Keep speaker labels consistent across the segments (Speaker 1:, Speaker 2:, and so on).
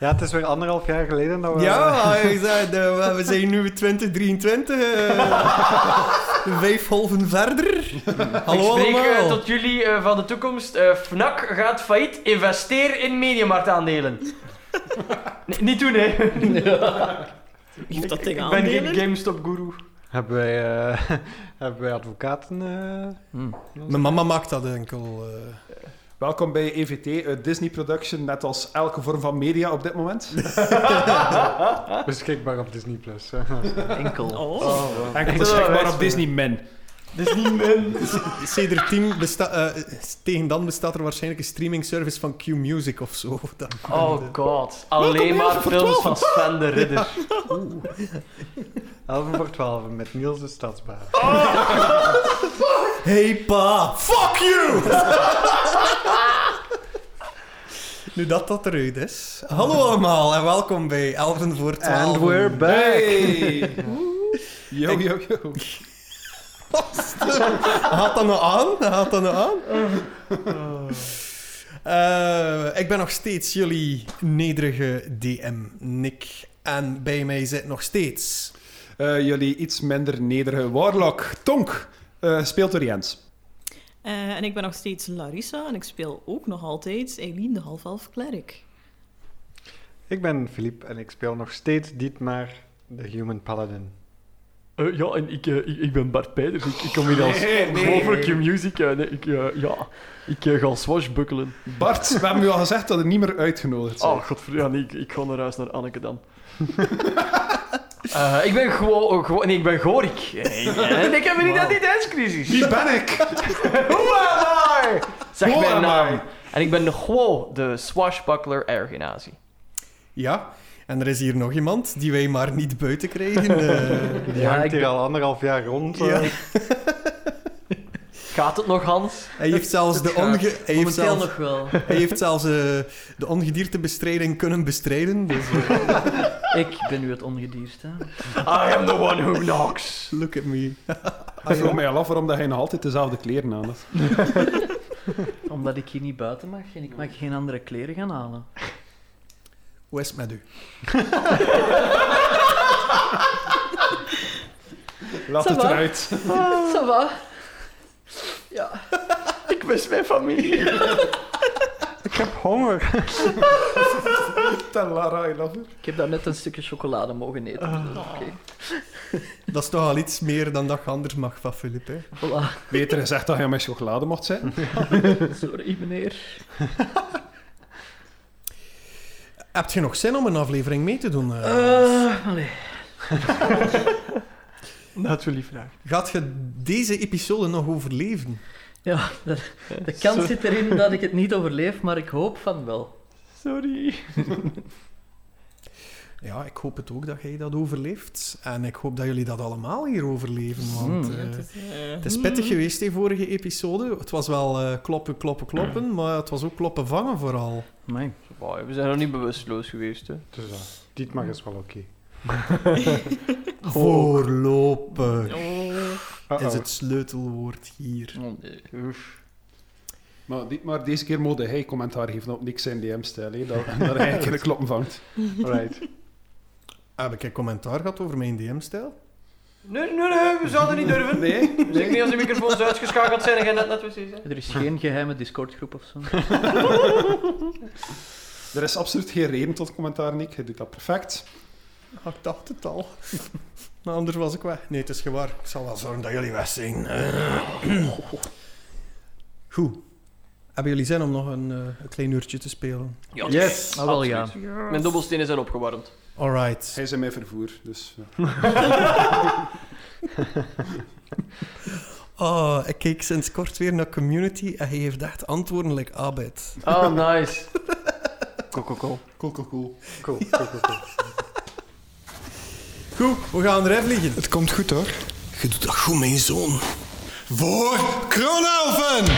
Speaker 1: Ja, het is weer anderhalf jaar geleden dat we...
Speaker 2: Ja, maar je zei, de- we zijn nu 2023. eh, vijf golven verder. Hallo
Speaker 3: ik spreek eh,
Speaker 2: allemaal.
Speaker 3: tot jullie eh, van de toekomst. Eh, FNAC gaat failliet. Investeer in mediamarktaandelen. nee, niet doen, hè.
Speaker 4: Heeft dat ding
Speaker 3: ik
Speaker 4: aan?
Speaker 3: ben geen GameStop-guru.
Speaker 1: Hebben, wij, eh, hebben wij advocaten... eh,
Speaker 2: Mijn mama maakt dat enkel. eh.
Speaker 5: Welkom bij E EVT, een eh, Disney production, net als elke vorm van media op dit moment.
Speaker 1: beschikbaar op Disney+. Plus.
Speaker 3: Enkel.
Speaker 4: Oh.
Speaker 5: Enkel
Speaker 3: wel
Speaker 5: beschikbaar
Speaker 3: wijs,
Speaker 5: op Disney Men.
Speaker 3: Dus niet min.
Speaker 2: Sedert 10 besta- eh, tegen dan bestaat er waarschijnlijk een streaming service van Q Music of zo. Dat-
Speaker 3: Oh god. Alleen
Speaker 2: Welkom bij
Speaker 3: maar
Speaker 2: Elf voor
Speaker 3: films
Speaker 2: Twaalf.
Speaker 3: van Sven de Ridder.
Speaker 1: 11 voor 12 met Niels de Stadsbaas.
Speaker 2: Hey pa, fuck you! nu dat dat eruit is. Hallo allemaal en welkom bij Elven voor 12.
Speaker 1: And we're back.
Speaker 5: Hey! Yo, yo, yo.
Speaker 2: Gaat dat nou aan? Gaat dat nou aan? Eh, ik ben nog steeds jullie nederige DM, Nick. En bij mij zit nog steeds...
Speaker 5: Eh, jullie iets minder nederige warlock, Tonk, eh, speelt door Jens.
Speaker 4: Eh, en ik ben nog steeds Larissa en ik speel ook nog altijd Eileen de half-elf klerk.
Speaker 1: Ik ben Filip en ik speel nog steeds Dietmar, de Human Paladin.
Speaker 3: Eh, ja, en ik, eh, ik, ik ben Bart Peiders. Ik, ik kom hier als
Speaker 5: Nee, nee.
Speaker 3: Overcue Music en eh, ik, eh, ja, ik eh, ga swashbuckelen.
Speaker 5: Bart, we hebben u al gezegd dat er niet meer uitgenodigd zijn.
Speaker 3: Oh, godverdomme. Ja, nee, ik, ik ga naar huis, naar Anneke dan. Eh, ik ben gewoon... Gewo nee, ik ben Gorik. Eh, eh, ik heb een identiteitscrisis.
Speaker 5: Wie ben ik?
Speaker 3: Hoe am I? Zeg
Speaker 5: Who
Speaker 3: mijn
Speaker 5: am
Speaker 3: naam.
Speaker 5: I?
Speaker 3: En ik ben Gwo, de swashbuckler ergenazi.
Speaker 2: Ja, en er is hier nog iemand die wij maar niet buiten krijgen. eh.
Speaker 1: Die
Speaker 3: Ja, ik
Speaker 1: hangt hier
Speaker 3: ben-
Speaker 1: al anderhalf jaar rond. eh.
Speaker 2: Ja.
Speaker 3: Gaat het nog, Hans?
Speaker 2: Hij heeft zelfs de, onge hij heeft
Speaker 6: Momenteel
Speaker 2: zelfs,
Speaker 6: nog wel.
Speaker 2: hij heeft zelfs eh, de ongediertebestrijding kunnen bestrijden. Dus eh,
Speaker 6: Ik ben nu het ongedierste.
Speaker 3: I am the one who knocks.
Speaker 2: look at me.
Speaker 5: Ik vroeg mij al af waarom dat hij nog altijd dezelfde kleren aan heeft.
Speaker 6: Omdat ik hier niet buiten mag en ik mag geen andere kleren gaan halen.
Speaker 2: Hoe is het met u?
Speaker 5: Laat
Speaker 6: Ça
Speaker 5: het
Speaker 6: va.
Speaker 5: eruit.
Speaker 6: Ça va? Ja.
Speaker 3: Ik mis mijn familie.
Speaker 1: Ik heb honger.
Speaker 5: Tell Lara I love Ah. her.
Speaker 6: Ik heb daar net een stukje chocolade mogen eten. dus Oké.
Speaker 2: Dat is toch al iets meer dan dat je anders mag van Filip. Hè?
Speaker 6: Voilà.
Speaker 5: Beter gezegd dat hij met chocolade mocht zijn.
Speaker 6: Sorry, meneer.
Speaker 2: Heb je nog zin om een aflevering mee te doen? eh?
Speaker 6: Eh, allee.
Speaker 3: Natuurlijk vraag.
Speaker 2: Gaat je deze episode nog overleven?
Speaker 6: Ja, de, de kans zit erin dat ik het niet overleef, maar ik hoop van wel.
Speaker 3: Sorry.
Speaker 2: Ja, ik hoop het ook dat jij dat overleeft. En ik hoop dat jullie dat allemaal hier overleven. Want,
Speaker 6: Hmm.
Speaker 2: eh,
Speaker 4: Ja, het is, eh,
Speaker 2: Het is pittig geweest, die vorige episode. Het was wel eh, kloppen, kloppen, kloppen, maar het was ook kloppen vangen vooral.
Speaker 6: Mijn.
Speaker 3: We zijn nog niet bewusteloos geweest, hè.
Speaker 1: Dus, eh, Dietmar is wel oké.
Speaker 2: Voorlopen
Speaker 4: oh.
Speaker 1: Uh-oh.
Speaker 2: is het sleutelwoord hier.
Speaker 6: Oh, nee.
Speaker 5: Maar, niet maar deze keer moet hij commentaar geven op niks in DM-stijl. hè, Dat, dat hij een keer de kloppen vangt.
Speaker 1: Right.
Speaker 2: Heb ik een commentaar gehad over mijn DM-stijl?
Speaker 3: Nee, nee, nee, we zouden niet durven.
Speaker 5: Nee?
Speaker 3: Zeker niet als de microfoons uitgeschakeld zijn en jij net net wc zijn.
Speaker 6: Er is geen geheime Discord-groep of zo.
Speaker 5: Er is absoluut geen reden tot commentaar, Nick. Hij doet dat perfect.
Speaker 2: Ah, ik dacht het al. maar anders was ik weg. Nee, het is gewaar. Ik zal wel zorgen dat jullie weg zijn. Eh. Goed. Hebben jullie zin om nog een, eh, een klein uurtje te spelen?
Speaker 3: Ja,
Speaker 5: Yes.
Speaker 6: Maar Nou, wel ja.
Speaker 3: Mijn dobbelstenen zijn opgewarmd.
Speaker 2: Alright.
Speaker 5: Hij is in mijn vervoer, dus... ja.
Speaker 2: Oh, ik keek sinds kort weer naar Community en hij heeft echt antwoorden like "Ah, Abed.
Speaker 3: Oh, nice. Cool, cool, cool.
Speaker 5: Cool, cool, cool.
Speaker 1: Cool, cool, cool, cool.
Speaker 2: Goed, we gaan erin vliegen.
Speaker 7: Het komt goed hoor.
Speaker 2: Je doet dat goed, mijn zoon. Voor Kronelven!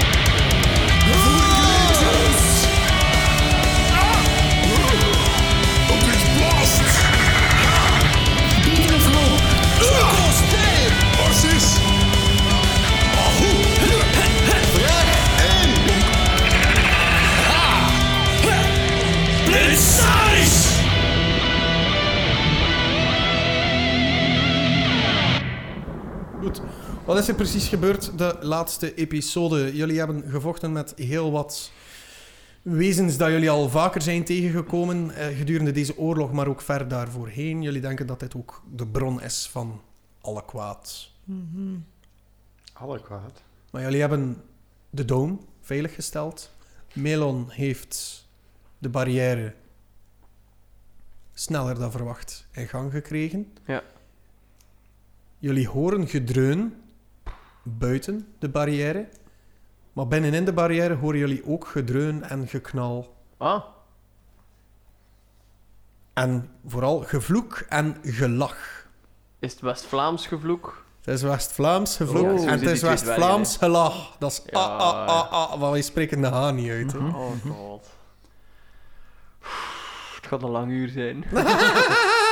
Speaker 8: Blitz size!
Speaker 2: Wat is er precies gebeurd de laatste episode? Jullie hebben gevochten met heel wat wezens dat jullie al vaker zijn tegengekomen eh, gedurende deze oorlog, maar ook ver daarvoorheen. Jullie denken dat dit ook de bron is van alle kwaad.
Speaker 4: Mhm.
Speaker 1: Alle kwaad.
Speaker 2: Maar jullie hebben de dome veiliggesteld. Melon heeft de barrière sneller dan verwacht in gang gekregen.
Speaker 3: Ja.
Speaker 2: Jullie horen gedreun buiten de barrière. Maar binnenin de barrière horen jullie ook gedreun en geknal.
Speaker 3: Ah,
Speaker 2: En vooral gevloek en gelach.
Speaker 3: is het West-Vlaams gevloek?
Speaker 2: Het is West-Vlaams gevloek
Speaker 3: Ja, zo
Speaker 2: en het
Speaker 3: zit
Speaker 2: is
Speaker 3: die twee
Speaker 2: West-Vlaams gelach. Dat is
Speaker 3: Ja,
Speaker 2: ah, ah, ah, ah, want wij spreken de H niet uit. hè.
Speaker 3: Oh god. Het gaat een lang uur zijn.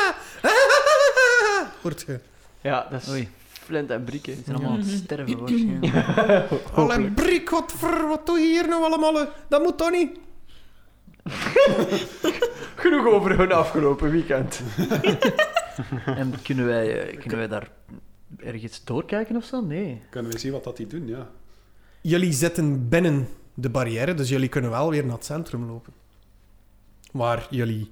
Speaker 2: Hoort je?
Speaker 3: Ja, dat is
Speaker 6: Oei.
Speaker 3: flint en brieken.
Speaker 6: Die zijn allemaal aan het
Speaker 4: Mhm.
Speaker 6: sterven waarschijnlijk.
Speaker 2: Alle brik, wat, voor- wat doe je hier nou allemaal? hè? Dat moet toch niet?
Speaker 3: Genoeg over hun afgelopen weekend.
Speaker 6: En kunnen wij, eh, kunnen wij daar ergens doorkijken of zo? Nee.
Speaker 5: Kunnen we zien wat dat die doen, ja.
Speaker 2: Jullie zitten binnen de barrière, dus jullie kunnen wel weer naar het centrum lopen. Waar jullie...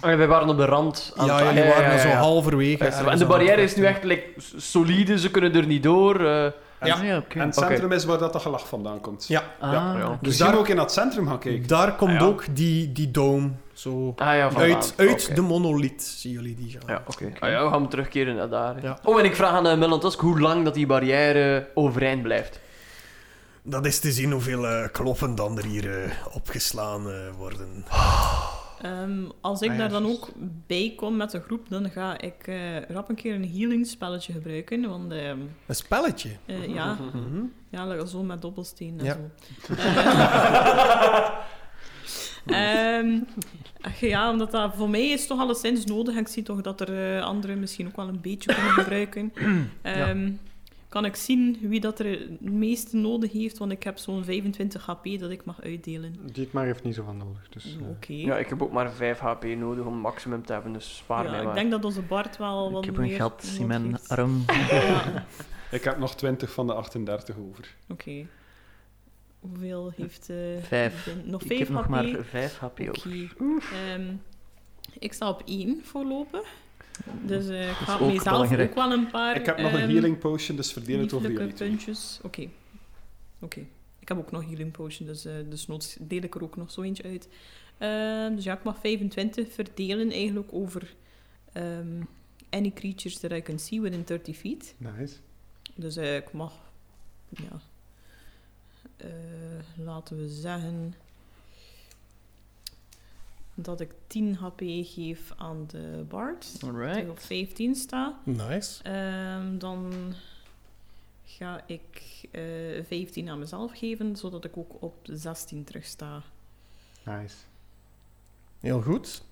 Speaker 3: wij waren op de rand. Ah,
Speaker 2: Ja, jullie waren al zo halverwege.
Speaker 3: Ja, En
Speaker 2: ergens
Speaker 3: de
Speaker 2: aan het
Speaker 3: barrière is nu
Speaker 2: vechten.
Speaker 3: echt like, s- solide, ze kunnen er niet door. eh.
Speaker 5: Ja.
Speaker 6: Ah, oké.
Speaker 5: En het centrum is waar dat de gelach vandaan komt.
Speaker 2: Ja.
Speaker 6: Ah,
Speaker 3: ja, ja.
Speaker 6: oké.
Speaker 5: Dus
Speaker 2: daar-
Speaker 5: daar ook in dat centrum gaan kijken.
Speaker 2: Daar komt
Speaker 3: Ah, ja.
Speaker 2: ook die, die dome zo...
Speaker 3: Ah ja, vandaan.
Speaker 2: Uit, uit
Speaker 3: Oké.
Speaker 2: de monolith zien jullie die gaan.
Speaker 3: Ja, oké. Ah ja, we gaan terugkeren naar daar. hè.
Speaker 2: Ja.
Speaker 3: Oh, en ik vraag aan uh, Melon Tusk hoe lang dat die barrière overeind blijft.
Speaker 2: Dat is te zien hoeveel eh, kloppen dan er hier eh, opgeslaan eh, worden.
Speaker 4: Ehm, als ik
Speaker 1: Ah, ja,
Speaker 4: daar dan
Speaker 1: juist.
Speaker 4: ook bij kom met de groep, dan ga ik eh, rap een keer een healing spelletje gebruiken. Want ehm,
Speaker 2: Een spelletje.
Speaker 4: eh, ja,
Speaker 2: Mhm.
Speaker 4: ja, like zo met dobbelsteen en
Speaker 2: Ja.
Speaker 4: zo. Eh, ehm, ach ja, omdat dat voor mij is toch alleszins nodig. En ik zie toch dat er eh, anderen misschien ook wel een beetje kunnen gebruiken. Ehm, Kan ik zien wie dat er het meeste nodig heeft? Want ik heb zo'n 25 HP dat ik mag uitdelen.
Speaker 1: Dietmar heeft niet zoveel nodig, dus... eh,
Speaker 4: Mm, Oké.
Speaker 3: Ja, ik heb ook maar 5 HP nodig om maximum te hebben, dus spaar
Speaker 4: Ja,
Speaker 3: mij maar.
Speaker 4: ik denk dat onze Bart wel wat
Speaker 6: Ik heb
Speaker 4: meer
Speaker 6: een gat
Speaker 4: nodig
Speaker 6: in mijn
Speaker 4: heeft.
Speaker 6: arm.
Speaker 4: Ja,
Speaker 5: Ik heb nog 20 van de 38 over.
Speaker 4: Oké. Hoeveel heeft... eh,
Speaker 6: Vijf.
Speaker 4: Ben- Nog
Speaker 6: Ik
Speaker 4: vijf
Speaker 6: heb nog
Speaker 4: HP?
Speaker 6: maar 5 HP over.
Speaker 4: Oké. Ehm, ik sta op één voorlopig. Dus eh, ik ga
Speaker 6: ook
Speaker 4: mezelf
Speaker 6: belangrijk.
Speaker 4: ook wel een paar...
Speaker 5: Ik heb nog een
Speaker 4: ehm,
Speaker 5: healing potion, dus verdeel het over jullie
Speaker 4: lieflijke
Speaker 5: twee.
Speaker 4: puntjes. Oké. Oké. Ik heb ook nog healing potion, dus eh dus noods deel ik er ook nog zo eentje uit. Ehm, dus ja, ik mag 25 verdelen eigenlijk over ehm, any creatures that I can see within 30 feet.
Speaker 1: Nice.
Speaker 4: Dus eh, ik mag, ja, Eh, laten we zeggen dat ik 10 HP geef aan de Bard. Dat ik
Speaker 6: Alright.
Speaker 4: op 15 sta.
Speaker 2: Nice.
Speaker 4: Ehm, dan ga ik eh 15 aan mezelf geven, zodat ik ook op 16 terug sta.
Speaker 1: Nice.
Speaker 2: Heel goed.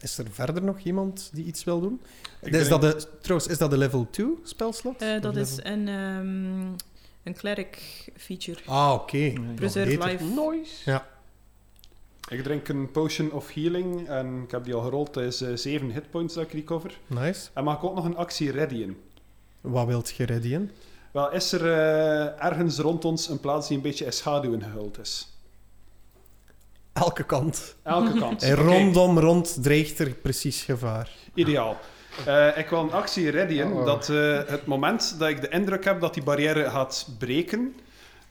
Speaker 2: Is er verder nog iemand die iets wil doen?
Speaker 5: Ik
Speaker 2: Is
Speaker 5: denk-
Speaker 2: dat de, trouwens, is dat de level 2 spelslot?
Speaker 4: Eh, dat
Speaker 2: Of
Speaker 4: is
Speaker 2: level-
Speaker 4: een, ehm een cleric feature.
Speaker 2: Ah, oké.
Speaker 6: Nog
Speaker 4: Preserve
Speaker 2: beter.
Speaker 4: life.
Speaker 3: Noise.
Speaker 5: Ik drink een potion of healing en ik heb die al gerold. Dat is eh, 7 hitpoints dat ik recover.
Speaker 2: Nice.
Speaker 5: En mag ik ook nog een actie reddyen?
Speaker 2: Wat wilt je reddien?
Speaker 5: Wel, is er eh, ergens rond ons een plaats die een beetje in schaduwen gehuld is?
Speaker 2: Elke kant.
Speaker 5: Elke kant.
Speaker 2: En
Speaker 5: Oké,
Speaker 2: rondom rond dreigt er precies gevaar.
Speaker 5: ideaal. Eh, ik wil een actie reddyen
Speaker 1: Oh.
Speaker 5: dat eh, het moment dat ik de indruk heb dat die barrière gaat breken,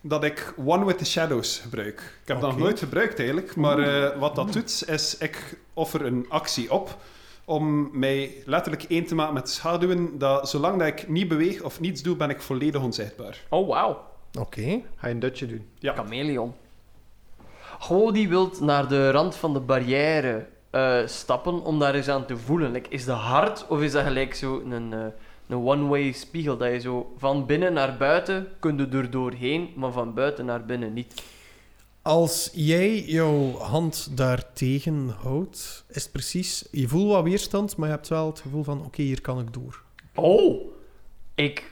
Speaker 5: dat ik One with the Shadows gebruik. Ik heb dat nog
Speaker 2: Oké.
Speaker 5: nooit gebruikt eigenlijk, maar eh, wat dat doet is ik offer een actie op om mij letterlijk één te maken met schaduwen, dat zolang dat ik niet beweeg of niets doe, ben ik volledig onzichtbaar.
Speaker 3: Oh, wauw.
Speaker 2: Oké.
Speaker 1: Ga je een dutje doen?
Speaker 5: Ja.
Speaker 3: Chameleon. Gewoon die wilt naar de rand van de barrière eh, stappen om daar eens aan te voelen. Like, is dat hard of is dat gelijk zo een, eh, een one-way spiegel? Dat je zo van binnen naar buiten kunt je er doorheen, maar van buiten naar binnen niet.
Speaker 2: Als jij jouw hand daartegen houdt, is het precies... Je voelt wat weerstand, maar je hebt wel het gevoel van... Oké, hier kan ik door.
Speaker 3: Oh, ik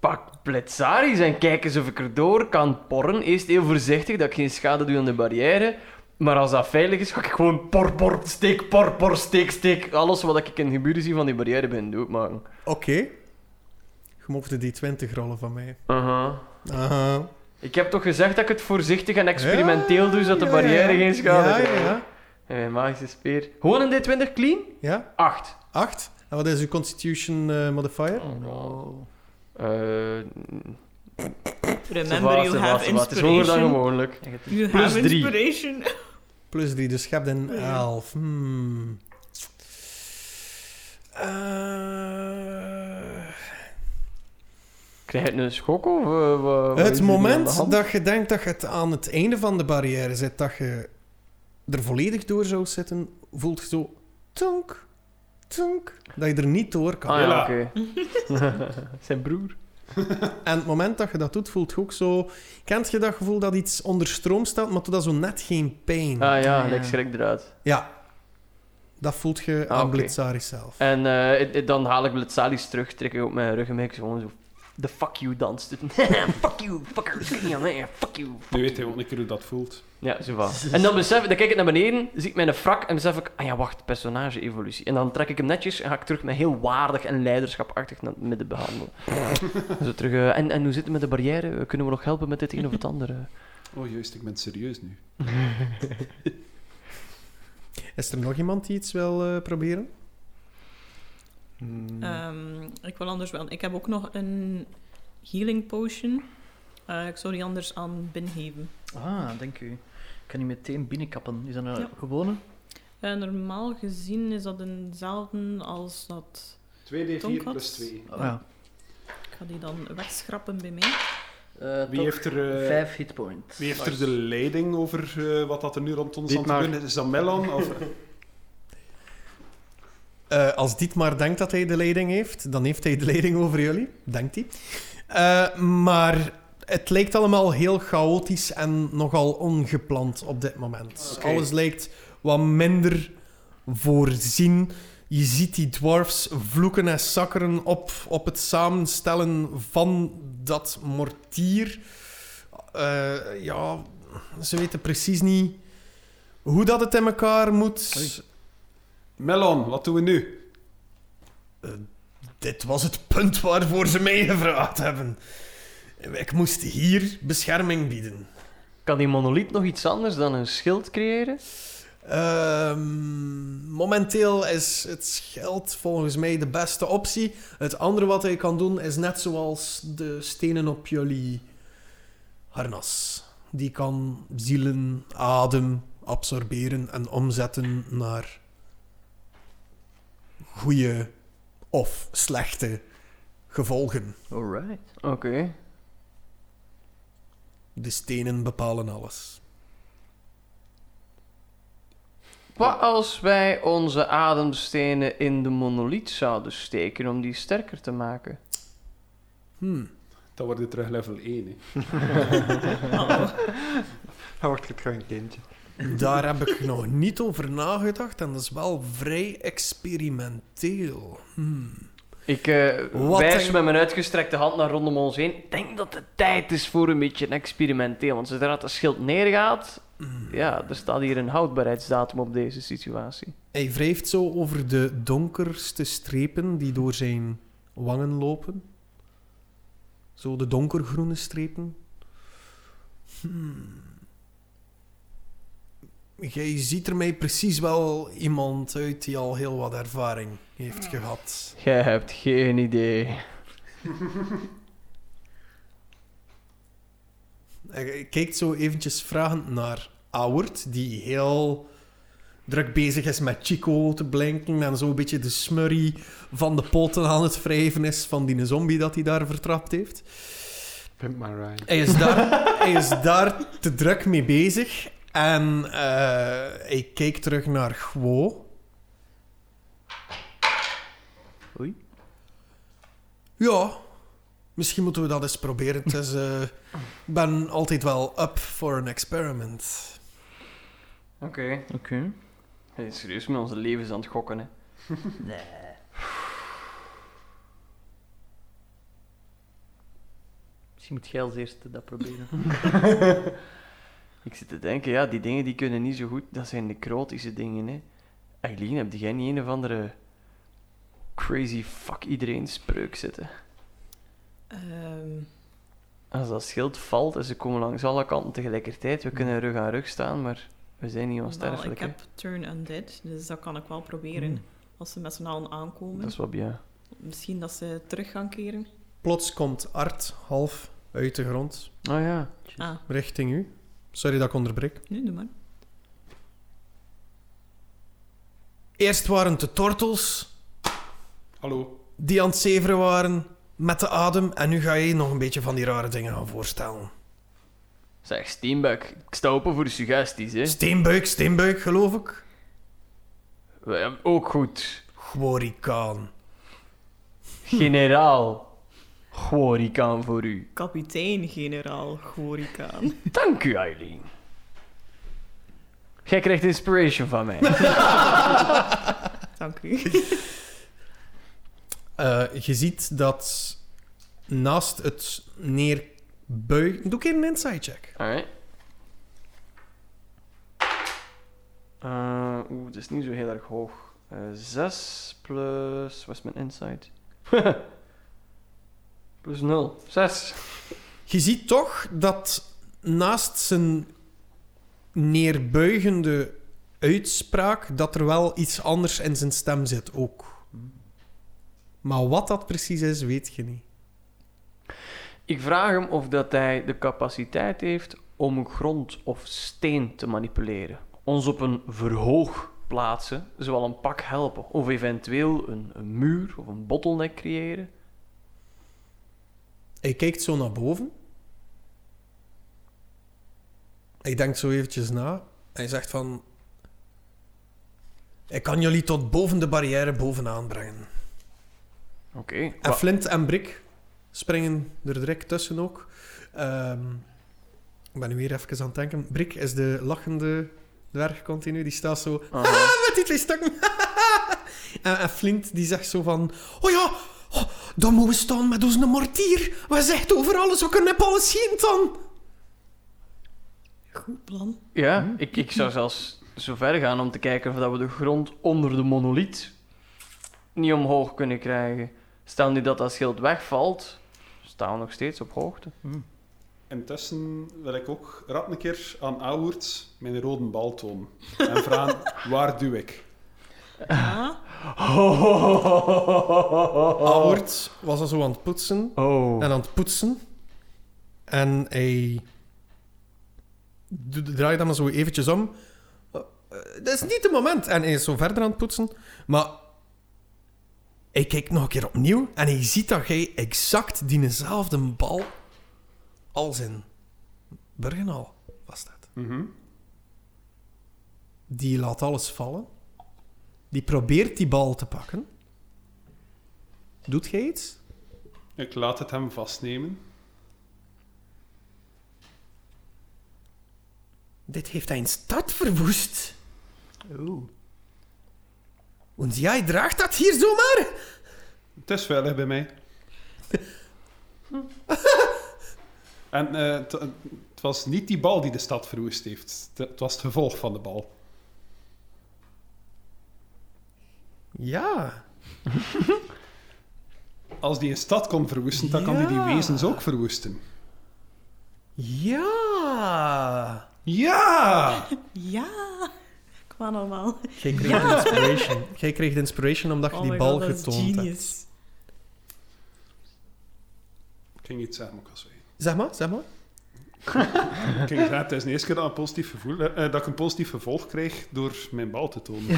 Speaker 3: pak Blitzaris en kijk eens of ik erdoor kan porren. Eerst heel voorzichtig dat ik geen schade doe aan de barrière. Maar als dat veilig is, ga ik gewoon por, por, steek, por, por, steek, steek. Alles wat ik in de geburen zie van die barrière ben doodmaken.
Speaker 2: Oké. Je mocht de D20 rollen van mij.
Speaker 3: Aha.
Speaker 2: Aha.
Speaker 3: Ik heb toch gezegd dat ik het voorzichtig en experimenteel doe, zodat de
Speaker 2: Ah, Ja, ja, ja.
Speaker 3: barrière geen schade
Speaker 2: Ja, ja,
Speaker 3: doet.
Speaker 2: ja.
Speaker 3: En mijn magische speer. Gewoon een D20 clean?
Speaker 2: Ja,
Speaker 3: 8.
Speaker 2: 8. En wat is uw Constitution eh, modifier?
Speaker 3: Oh no. Eh
Speaker 4: Remember, you have
Speaker 3: Het is hoger dan
Speaker 4: inspiration.
Speaker 3: gewoonlijk.
Speaker 4: You
Speaker 3: Plus
Speaker 4: have
Speaker 3: drie.
Speaker 4: inspiration.
Speaker 2: Plus 3, dus je hebt een 11. Hmm. Eh,
Speaker 3: Krijg je een schok of... eh, wa- wat is
Speaker 2: het
Speaker 3: hier aan de
Speaker 2: moment
Speaker 3: hand?
Speaker 2: dat je denkt dat je het aan het einde van de barrière zit, dat je er volledig door zou zitten, voelt je zo... Tonk, tonk, dat je er niet door kan.
Speaker 3: Ah ja,
Speaker 5: Ja.
Speaker 3: oké. Zijn broer.
Speaker 2: En het moment dat je dat doet, voelt je ook zo... Kent je dat gevoel dat iets onder stroom staat, maar tot dat zo net geen pijn?
Speaker 3: Ah ja,
Speaker 6: Ja.
Speaker 3: ik schrik eruit.
Speaker 2: Ja. Dat voelt je
Speaker 3: Ah,
Speaker 2: aan
Speaker 3: oké.
Speaker 2: Blitzaris zelf.
Speaker 3: En eh, het- het- dan haal ik Blitzalis terug, trek ik op mijn rug en ben ik gewoon zo... The fuck you danst. fuck you, fucker. schrik niet aan mij, eh, Fuck you, fuck
Speaker 5: Nu weet
Speaker 3: you.
Speaker 5: hij ook een keer hoe dat voelt.
Speaker 3: Ja, zo van. En dan, besef, dan kijk ik naar beneden, zie ik mijn frak en besef ik... Ah ja, wacht, personage-evolutie. En dan trek ik hem netjes en ga ik terug met heel waardig en leiderschapachtig naar het midden behandelen. zo terug, eh, en, en hoe zit het met de barrière? Kunnen we nog helpen met dit een of het andere?
Speaker 5: Oh, juist, ik ben serieus nu.
Speaker 2: Is er nog iemand die iets wil eh, proberen?
Speaker 3: Mm.
Speaker 1: Hmm.
Speaker 4: Ehm, ik wil anders wel. Ik heb ook nog een healing potion. Eh, ik zou die anders aan Bin geven.
Speaker 6: Ah, dank u. Ik kan die meteen binnenkappen. Is dat nou een
Speaker 4: Ja.
Speaker 6: gewone?
Speaker 4: Eh, normaal gezien is dat eenzelfde als dat.
Speaker 5: 2d4
Speaker 4: Tomcat?
Speaker 5: plus 2.
Speaker 6: Oh, ja.
Speaker 4: Ik ga die dan wegschrappen bij mij.
Speaker 6: Eh,
Speaker 5: Wie
Speaker 6: toch
Speaker 5: heeft er... eh,
Speaker 6: Vijf hitpoints.
Speaker 5: Wie heeft er de leiding over eh, wat dat er nu rond ons aan het
Speaker 1: Dietmar.
Speaker 5: gebeuren is? Is dat Melon? Of...
Speaker 2: Eh, als Dietmar denkt dat hij de leiding heeft, dan heeft hij de leiding over jullie. Denkt hij. Eh, maar het lijkt allemaal heel chaotisch en nogal ongepland op dit moment.
Speaker 5: Oké.
Speaker 2: Alles lijkt wat minder voorzien. Je ziet die dwarfs vloeken en zakkeren op, op het samenstellen van dat mortier. Eh, ja, ze weten precies niet hoe dat het in elkaar moet.
Speaker 6: Oei.
Speaker 5: Melon, wat doen we nu?
Speaker 2: Dit was het punt waarvoor ze mij gevraagd hebben. Ik moest hier bescherming bieden.
Speaker 3: Kan die monolith nog iets anders dan een schild creëren?
Speaker 2: Ehm, momenteel is het schild volgens mij de beste optie. Het andere wat hij kan doen is net zoals de stenen op jullie harnas. Die kan zielen, adem absorberen en omzetten naar goede of slechte gevolgen.
Speaker 6: Alright.
Speaker 3: Oké.
Speaker 2: De stenen bepalen alles.
Speaker 3: Wat als wij onze ademstenen in de monolith zouden steken om die sterker te maken?
Speaker 2: Hmm.
Speaker 5: Dan wordt het terug level 1. hè.
Speaker 1: Dan wordt je terug een kindje.
Speaker 2: Daar heb ik nog niet over nagedacht en dat is wel vrij experimenteel. Hmm.
Speaker 3: Ik eh
Speaker 2: Wat
Speaker 3: wijs
Speaker 2: denk-
Speaker 3: met mijn uitgestrekte hand naar rondom ons heen. Ik denk dat het tijd is voor een beetje een experimenteel. Want zodra het schild neergaat, ja, er staat hier een houdbaarheidsdatum op deze situatie.
Speaker 2: Hij wrijft zo over de donkerste strepen die door zijn wangen lopen. Zo de donkergroene strepen. Hmm. Jij ziet er mij precies wel iemand uit die al heel wat ervaring heeft gehad.
Speaker 3: Jij hebt geen idee.
Speaker 2: Hij kijkt zo eventjes vragend naar Auwert, die heel druk bezig is met Chico te blinken en zo een beetje de smurrie van de poten aan het wrijven is van die zombie dat hij daar vertrapt heeft.
Speaker 1: Pimp my ride.
Speaker 2: Hij is daar, hij is daar te druk mee bezig en eh, hij kijkt terug naar Gwo.
Speaker 6: Oei.
Speaker 2: Ja, misschien moeten we dat eens proberen. Het is, eh, ik ben altijd wel up for an experiment.
Speaker 3: Oké.
Speaker 6: Oké.
Speaker 3: Hey, serieus, met onze levens aan het gokken, hè.
Speaker 6: Nee. Misschien moet jij als eerste dat proberen.
Speaker 3: Ik zit te denken, ja, die dingen die kunnen niet zo goed. Dat zijn necrotische dingen, hè. Eileen, heb jij niet een of andere crazy fuck iedereen spreuk zitten?
Speaker 4: Ehm,
Speaker 3: Als dat schild valt en ze komen langs alle kanten tegelijkertijd, we kunnen rug aan rug staan, maar we zijn niet
Speaker 4: wel,
Speaker 3: onsterfelijk.
Speaker 4: Nou, ik
Speaker 3: hè. Mm.
Speaker 4: heb Turn Undead, dus dat kan ik wel proberen.
Speaker 2: Hmm.
Speaker 4: Als ze met z'n allen aankomen.
Speaker 3: Dat is wat ja.
Speaker 4: Misschien dat ze terug gaan keren.
Speaker 2: Plots komt Art half uit de grond
Speaker 3: Oh ja.
Speaker 4: Ah,
Speaker 2: richting u. Sorry dat ik onderbreek.
Speaker 4: nu doe maar.
Speaker 2: Eerst waren het de tortels
Speaker 5: Hallo.
Speaker 2: die aan het zeveren waren met de adem. En nu ga je nog een beetje van die rare dingen gaan voorstellen.
Speaker 3: Zeg, Steenbuck, ik sta open voor suggesties, hè.
Speaker 2: Steenbuik, steenbuik, geloof ik.
Speaker 3: We hebben ook goed.
Speaker 2: Gworikaan.
Speaker 3: Generaal Gworikaan voor u.
Speaker 4: Kapitein-generaal Gorikaan.
Speaker 3: Dank u, Eileen. Jij krijgt inspiration van mij.
Speaker 4: Dank u.
Speaker 2: Eh, je ziet dat naast het neerbuigen... Doe ik een inside check.
Speaker 3: Alright. Eh Oeh, het is niet zo heel erg hoog. Eh, Zes plus. Wat is mijn insight? plus 0. 6.
Speaker 2: Je ziet toch dat naast zijn neerbuigende uitspraak, dat er wel iets anders in zijn stem zit ook. Maar wat dat precies is, weet je niet.
Speaker 3: Ik vraag hem of dat hij de capaciteit heeft om grond of steen te manipuleren. Ons op een verhoog plaatsen, zowel een pak helpen, of eventueel een, een muur of een bottleneck creëren.
Speaker 2: Hij kijkt zo naar boven. Hij denkt zo eventjes na. Hij zegt van... Ik kan jullie tot boven de barrière bovenaan brengen.
Speaker 3: Oké.
Speaker 2: En
Speaker 3: wa-
Speaker 2: Flint en Brik springen er direct tussen ook. Ehm, ik ben nu weer even aan het denken. Brik is de lachende dwerg continu. Die staat zo "Ah,
Speaker 3: Aha.
Speaker 2: met die twee stukken. en, en Flint die zegt zo van... Oh ja, oh, dan moeten we staan met onze mortier. We zegt over alles, we kunnen op alles heen dan.
Speaker 4: Goed plan.
Speaker 3: Ja,
Speaker 6: Hm?
Speaker 3: ik, ik zou zelfs zo ver gaan om te kijken of dat we de grond onder de monolith niet omhoog kunnen krijgen. Stel nu dat dat schild wegvalt, staan we nog steeds op hoogte.
Speaker 5: Intussen wil ik ook rad een keer aan Awoerd mijn rode bal tonen. En vragen, waar duw ik?
Speaker 4: Ja.
Speaker 2: Albert was al zo aan het poetsen.
Speaker 3: Oh.
Speaker 2: en aan het poetsen. En hij d- draait dan maar zo eventjes om. Eh, eh, Dat is niet het moment. En hij is zo verder aan het poetsen. Maar hij kijkt nog een keer opnieuw en hij ziet dat hij exact diezelfde bal als in Burgenal was dat.
Speaker 5: Mhm.
Speaker 2: Die laat alles vallen. Die probeert die bal te pakken. Doet jij iets?
Speaker 5: Ik laat het hem vastnemen.
Speaker 2: Dit heeft een stad verwoest.
Speaker 6: Oeh.
Speaker 2: En jij draagt dat hier zomaar?
Speaker 5: Het is veilig bij mij. en eh, het het was niet die bal die de stad verwoest heeft. Het- Het was het gevolg van de bal.
Speaker 2: Ja.
Speaker 5: Als die een stad kon verwoesten, dan kan die die
Speaker 2: Ja.
Speaker 5: wezens ook verwoesten.
Speaker 2: Ja.
Speaker 5: Ja!
Speaker 4: Ja. Kwam allemaal.
Speaker 2: Jij kreeg de inspiration. Jij kreeg de inspiration omdat je
Speaker 4: Oh
Speaker 2: die
Speaker 4: my
Speaker 2: bal
Speaker 4: god, dat is
Speaker 2: getoond hebt.
Speaker 4: genius.
Speaker 5: Ik ging iets zeggen, maar ik was weg.
Speaker 2: Zeg maar, zeg maar.
Speaker 5: Ik ging zeggen, het is de eerste keer dat, een positief gevoel, eh, eh, dat ik een positief gevolg kreeg door mijn bal te tonen.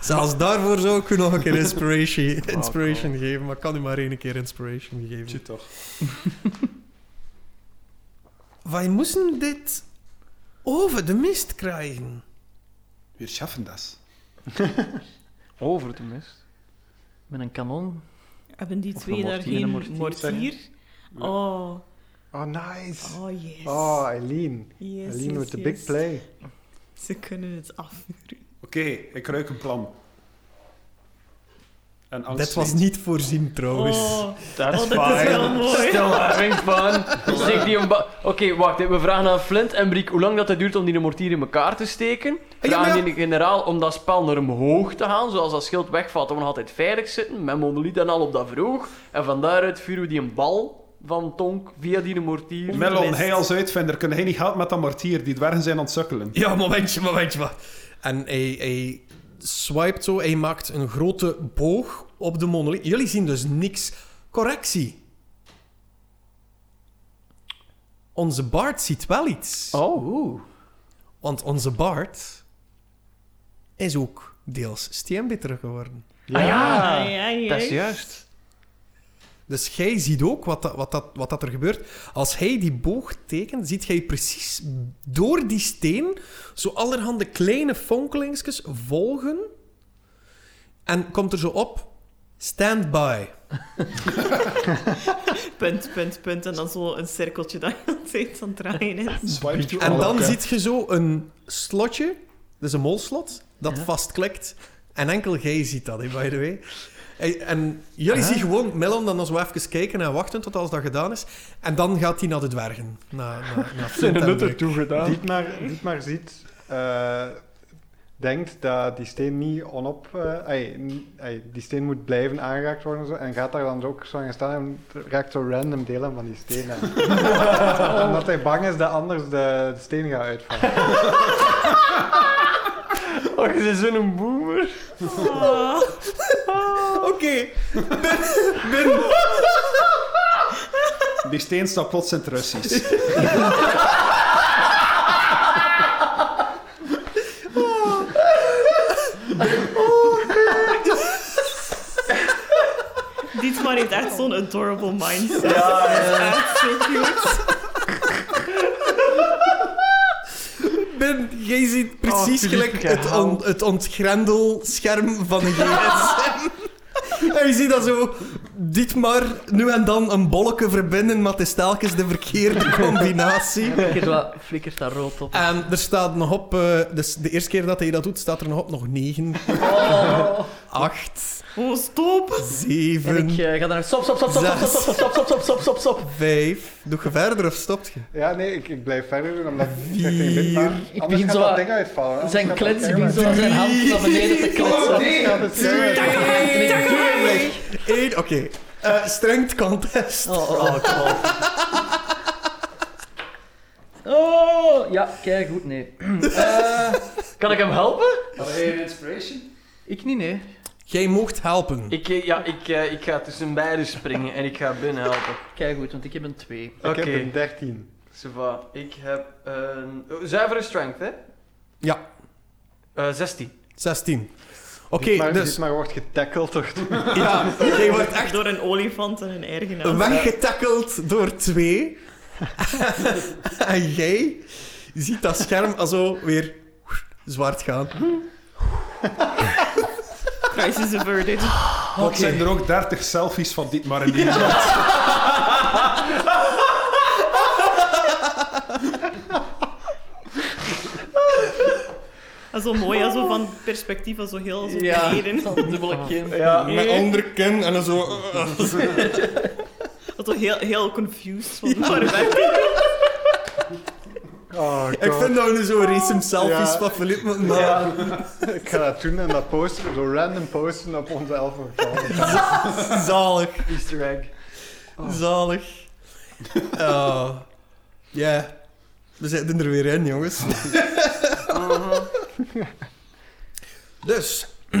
Speaker 2: Zelfs daarvoor zou ik u nog een keer inspiration, inspiration geven, maar ik kan u maar één keer inspiration geven.
Speaker 5: Shit, toch.
Speaker 2: Wij moesten dit over de mist krijgen.
Speaker 5: We schaffen dat.
Speaker 3: Over de mist.
Speaker 6: Met een kanon.
Speaker 4: Hebben die
Speaker 3: Of
Speaker 4: twee
Speaker 3: een
Speaker 4: daar
Speaker 3: mortier.
Speaker 4: geen
Speaker 6: Een
Speaker 4: mortier?
Speaker 6: mortier.
Speaker 5: Nee.
Speaker 4: Oh,
Speaker 1: Oh, nice.
Speaker 4: oh yes.
Speaker 1: Oh, Eileen.
Speaker 4: yes
Speaker 1: Eileen
Speaker 4: yes,
Speaker 1: with the
Speaker 4: yes.
Speaker 1: big play.
Speaker 4: Ze kunnen het afvuren.
Speaker 5: Oké, ik ruik een plan. en angst.
Speaker 2: Dit was
Speaker 5: leed.
Speaker 2: niet voorzien trouwens.
Speaker 4: Oh,
Speaker 3: Dat
Speaker 4: Oh, dat is wel mooi.
Speaker 3: Still having fun. Steek die een ba- Oké, wacht. hè. We vragen aan Flint en Briek hoe lang dat het duurt om die mortier in elkaar te steken.
Speaker 5: ja, maar
Speaker 3: Vragen
Speaker 5: ja.
Speaker 3: die generaal om dat spel naar omhoog te gaan, zoals dat schild wegvalt. Dan we nog altijd veilig zitten, met monoliet en al op dat vroeg. En van daaruit vuren we die een bal van Tonk via die mortier.
Speaker 5: Mellon,
Speaker 4: Onbewust.
Speaker 5: hij als uitvinder, kunnen hij niet helpen met dat mortier? Die dwergen zijn ontsukkelen.
Speaker 2: Ja, momentje, momentje. wa- En hij, hij swipet zo, hij maakt een grote boog op de monolith. Jullie zien dus niks. Correctie. Onze Bart ziet wel iets.
Speaker 3: Oh, oeh.
Speaker 2: Want onze Bart is ook deels steenbitter geworden.
Speaker 3: Ja. Ah, ja.
Speaker 4: ai, ai,
Speaker 3: Dat is
Speaker 4: ai.
Speaker 3: juist.
Speaker 2: Dus jij ziet ook wat, dat, wat, dat, wat dat er gebeurt. Als hij die boog tekent, ziet jij precies door die steen zo allerhande kleine fonkelingsjes volgen. En komt er zo op, stand by.
Speaker 4: Punt, punt, punt. En dan zo een cirkeltje dat je altijd aan het draaien is.
Speaker 5: Swipe to
Speaker 2: En
Speaker 5: all,
Speaker 2: dan
Speaker 5: oké.
Speaker 2: ziet je zo een slotje, dus een molslot, dat
Speaker 6: Ja.
Speaker 2: vastklikt. En enkel jij ziet dat, hè, by the way. En- En jullie zien gewoon Melon dan zo even kijken en wachten tot alles dat gedaan is. En dan gaat hij naar de dwergen. Naar, naar, naar Flint en Brick.
Speaker 6: toegedaan.
Speaker 1: Dietmar, Dietmar ziet, eh, denkt dat die steen niet onop, eh, ai, n- ai, die steen moet blijven aangeraakt worden en zo, en gaat daar dan zo ook zo aan staan en raakt zo random delen van die steen aan. Omdat hij bang is dat anders de, de steen gaat uitvallen.
Speaker 3: Oh, je bent zo'n boomer.
Speaker 4: Oh.
Speaker 2: Oké. Bin, bin.
Speaker 5: Die steen staat plots in het Russisch.
Speaker 4: Dit maar heeft echt zo'n adorable mindset.
Speaker 3: Ja,
Speaker 4: Dat is echt zo cute.
Speaker 2: Ben, jij ziet precies
Speaker 3: Oh,
Speaker 2: gelijk
Speaker 3: Philippe,
Speaker 2: het, on,
Speaker 3: gehaald.
Speaker 2: het ontgrendelscherm van een gsm. en je ziet dat zo, dit maar nu en dan een bolletje verbinden, maar het is telkens de verkeerde combinatie.
Speaker 6: Flikkert, wat, flikkert daar rood op.
Speaker 2: En er staat nog op, eh, dus de eerste keer dat hij dat doet, staat er nog op nog 9,
Speaker 6: Oh.
Speaker 2: 8,
Speaker 4: Oh, stop.
Speaker 2: 7,
Speaker 6: En ik eh, ga dan... Stop, stop, stop, stop, stop, stop, stop, stop, stop, stop, stop, stop.
Speaker 2: 5. Doe je verder of stopt je?
Speaker 1: Ja, nee, ik, ik blijf verder doen omdat ik
Speaker 2: Vier.
Speaker 1: zeg tegen Dietmar,
Speaker 6: Ik
Speaker 1: anders
Speaker 6: begin
Speaker 1: gaat
Speaker 6: zo
Speaker 1: dat
Speaker 6: wat-
Speaker 1: ding uitvallen. anders
Speaker 6: Zijn
Speaker 1: gaat
Speaker 6: klets
Speaker 1: dat
Speaker 6: begint
Speaker 1: ding
Speaker 6: zo aan zijn hand naar beneden te
Speaker 1: uitvallen.
Speaker 6: kletsen.
Speaker 1: Nee, dat is serieus.
Speaker 2: Eén, oké. Eh strength contest.
Speaker 6: Oh, oh, oh. Oh, ja, kijk, goed, nee. Eh,
Speaker 3: Kan ik hem helpen?
Speaker 5: inspiration?
Speaker 6: ik niet, nee.
Speaker 2: Jij moogt helpen.
Speaker 3: Ik, eh, ja, ik, eh, ik ga tussen beiden springen en ik ga binnen helpen.
Speaker 6: Kijk goed, want ik heb een 2.
Speaker 1: Ik
Speaker 3: Oké.
Speaker 1: heb een 13.
Speaker 3: Sava, ik heb een. oh, zuivere strength, hè?
Speaker 2: Ja.
Speaker 3: Eh, 16.
Speaker 2: 16. Oké,
Speaker 1: Dietmar,
Speaker 2: dus
Speaker 1: Dietmar wordt getackeld door
Speaker 2: ja, jij wordt echt
Speaker 4: Door een olifant en een ergenaam.
Speaker 2: weggetackeld door twee. en jij ziet dat scherm zo weer zwart gaan.
Speaker 4: Crisis averted.
Speaker 5: Wat zijn er ook 30 selfies van dit maar in die
Speaker 4: Dat is zo mooi, hè, zo van perspectief, dat is zo heel zo beneden.
Speaker 6: dubbele kin.
Speaker 3: Ja.
Speaker 2: Met onderkin en dan zo...
Speaker 4: Dat is zo heel, heel confused van waar ben ik?
Speaker 1: Oh,
Speaker 2: Ik
Speaker 1: God.
Speaker 2: vind dat we nu zo racem selfies
Speaker 1: Ja.
Speaker 2: van Philippe moeten maken.
Speaker 1: Ja, ik ga dat doen en dat posten, zo random posten op onze elfengevallen.
Speaker 2: Zalig.
Speaker 3: Easter egg.
Speaker 2: Zalig. Oh. Ja. We zitten er weer in, jongens. dus,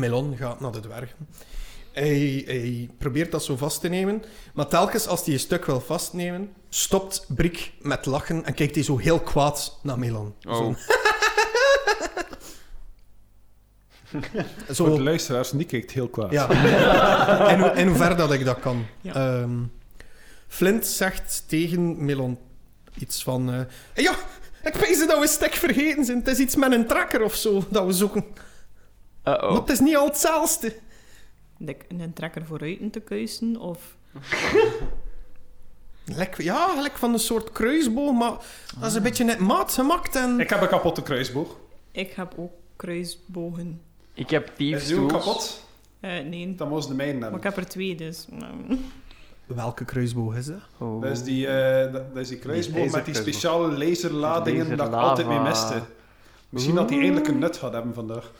Speaker 2: Melon gaat naar de dwergen. Hij, hij probeert dat zo vast te nemen, maar telkens als hij een stuk wil vastnemen, stopt Brik met lachen en kijkt hij zo heel kwaad naar Melon. Zo,
Speaker 5: Voor de
Speaker 2: zo
Speaker 5: luisteraars, die kijkt heel kwaad.
Speaker 2: ja. in, ho in hoever dat ik dat kan.
Speaker 4: Ja.
Speaker 2: Ehm, Flint zegt tegen Melon iets van... eh, "Hey, ja, ik pees dat we stek vergeten zijn. Het is iets met een trakker of zo dat we zoeken. Maar
Speaker 3: Uh-oh.
Speaker 2: het is niet al hetzelfde.
Speaker 4: Dik- Een trekker vooruit te kuisen of...
Speaker 2: Lek, ja, gelijk van een soort kruisboom, maar dat is een beetje net maat gemaakt. En...
Speaker 5: Ik heb een kapotte kruisboog.
Speaker 4: Ik heb ook kruisbogen.
Speaker 3: Ik heb
Speaker 5: Is
Speaker 3: thieves
Speaker 5: die ook
Speaker 3: tools.
Speaker 5: kapot?
Speaker 4: Eh, nee,
Speaker 5: Dan moesten de mijnen
Speaker 4: maar
Speaker 5: hebben.
Speaker 4: ik heb er twee, dus... nou.
Speaker 2: Welke kruisboog is dat?
Speaker 3: Oh.
Speaker 5: Dat is die, eh, dat- dat is die kruisboom met die
Speaker 1: laserkruisboog.
Speaker 5: speciale laserladingen dat ik
Speaker 3: Laserlava.
Speaker 5: altijd mee miste. Misschien dat die eindelijk een nut gaat hebben vandaag.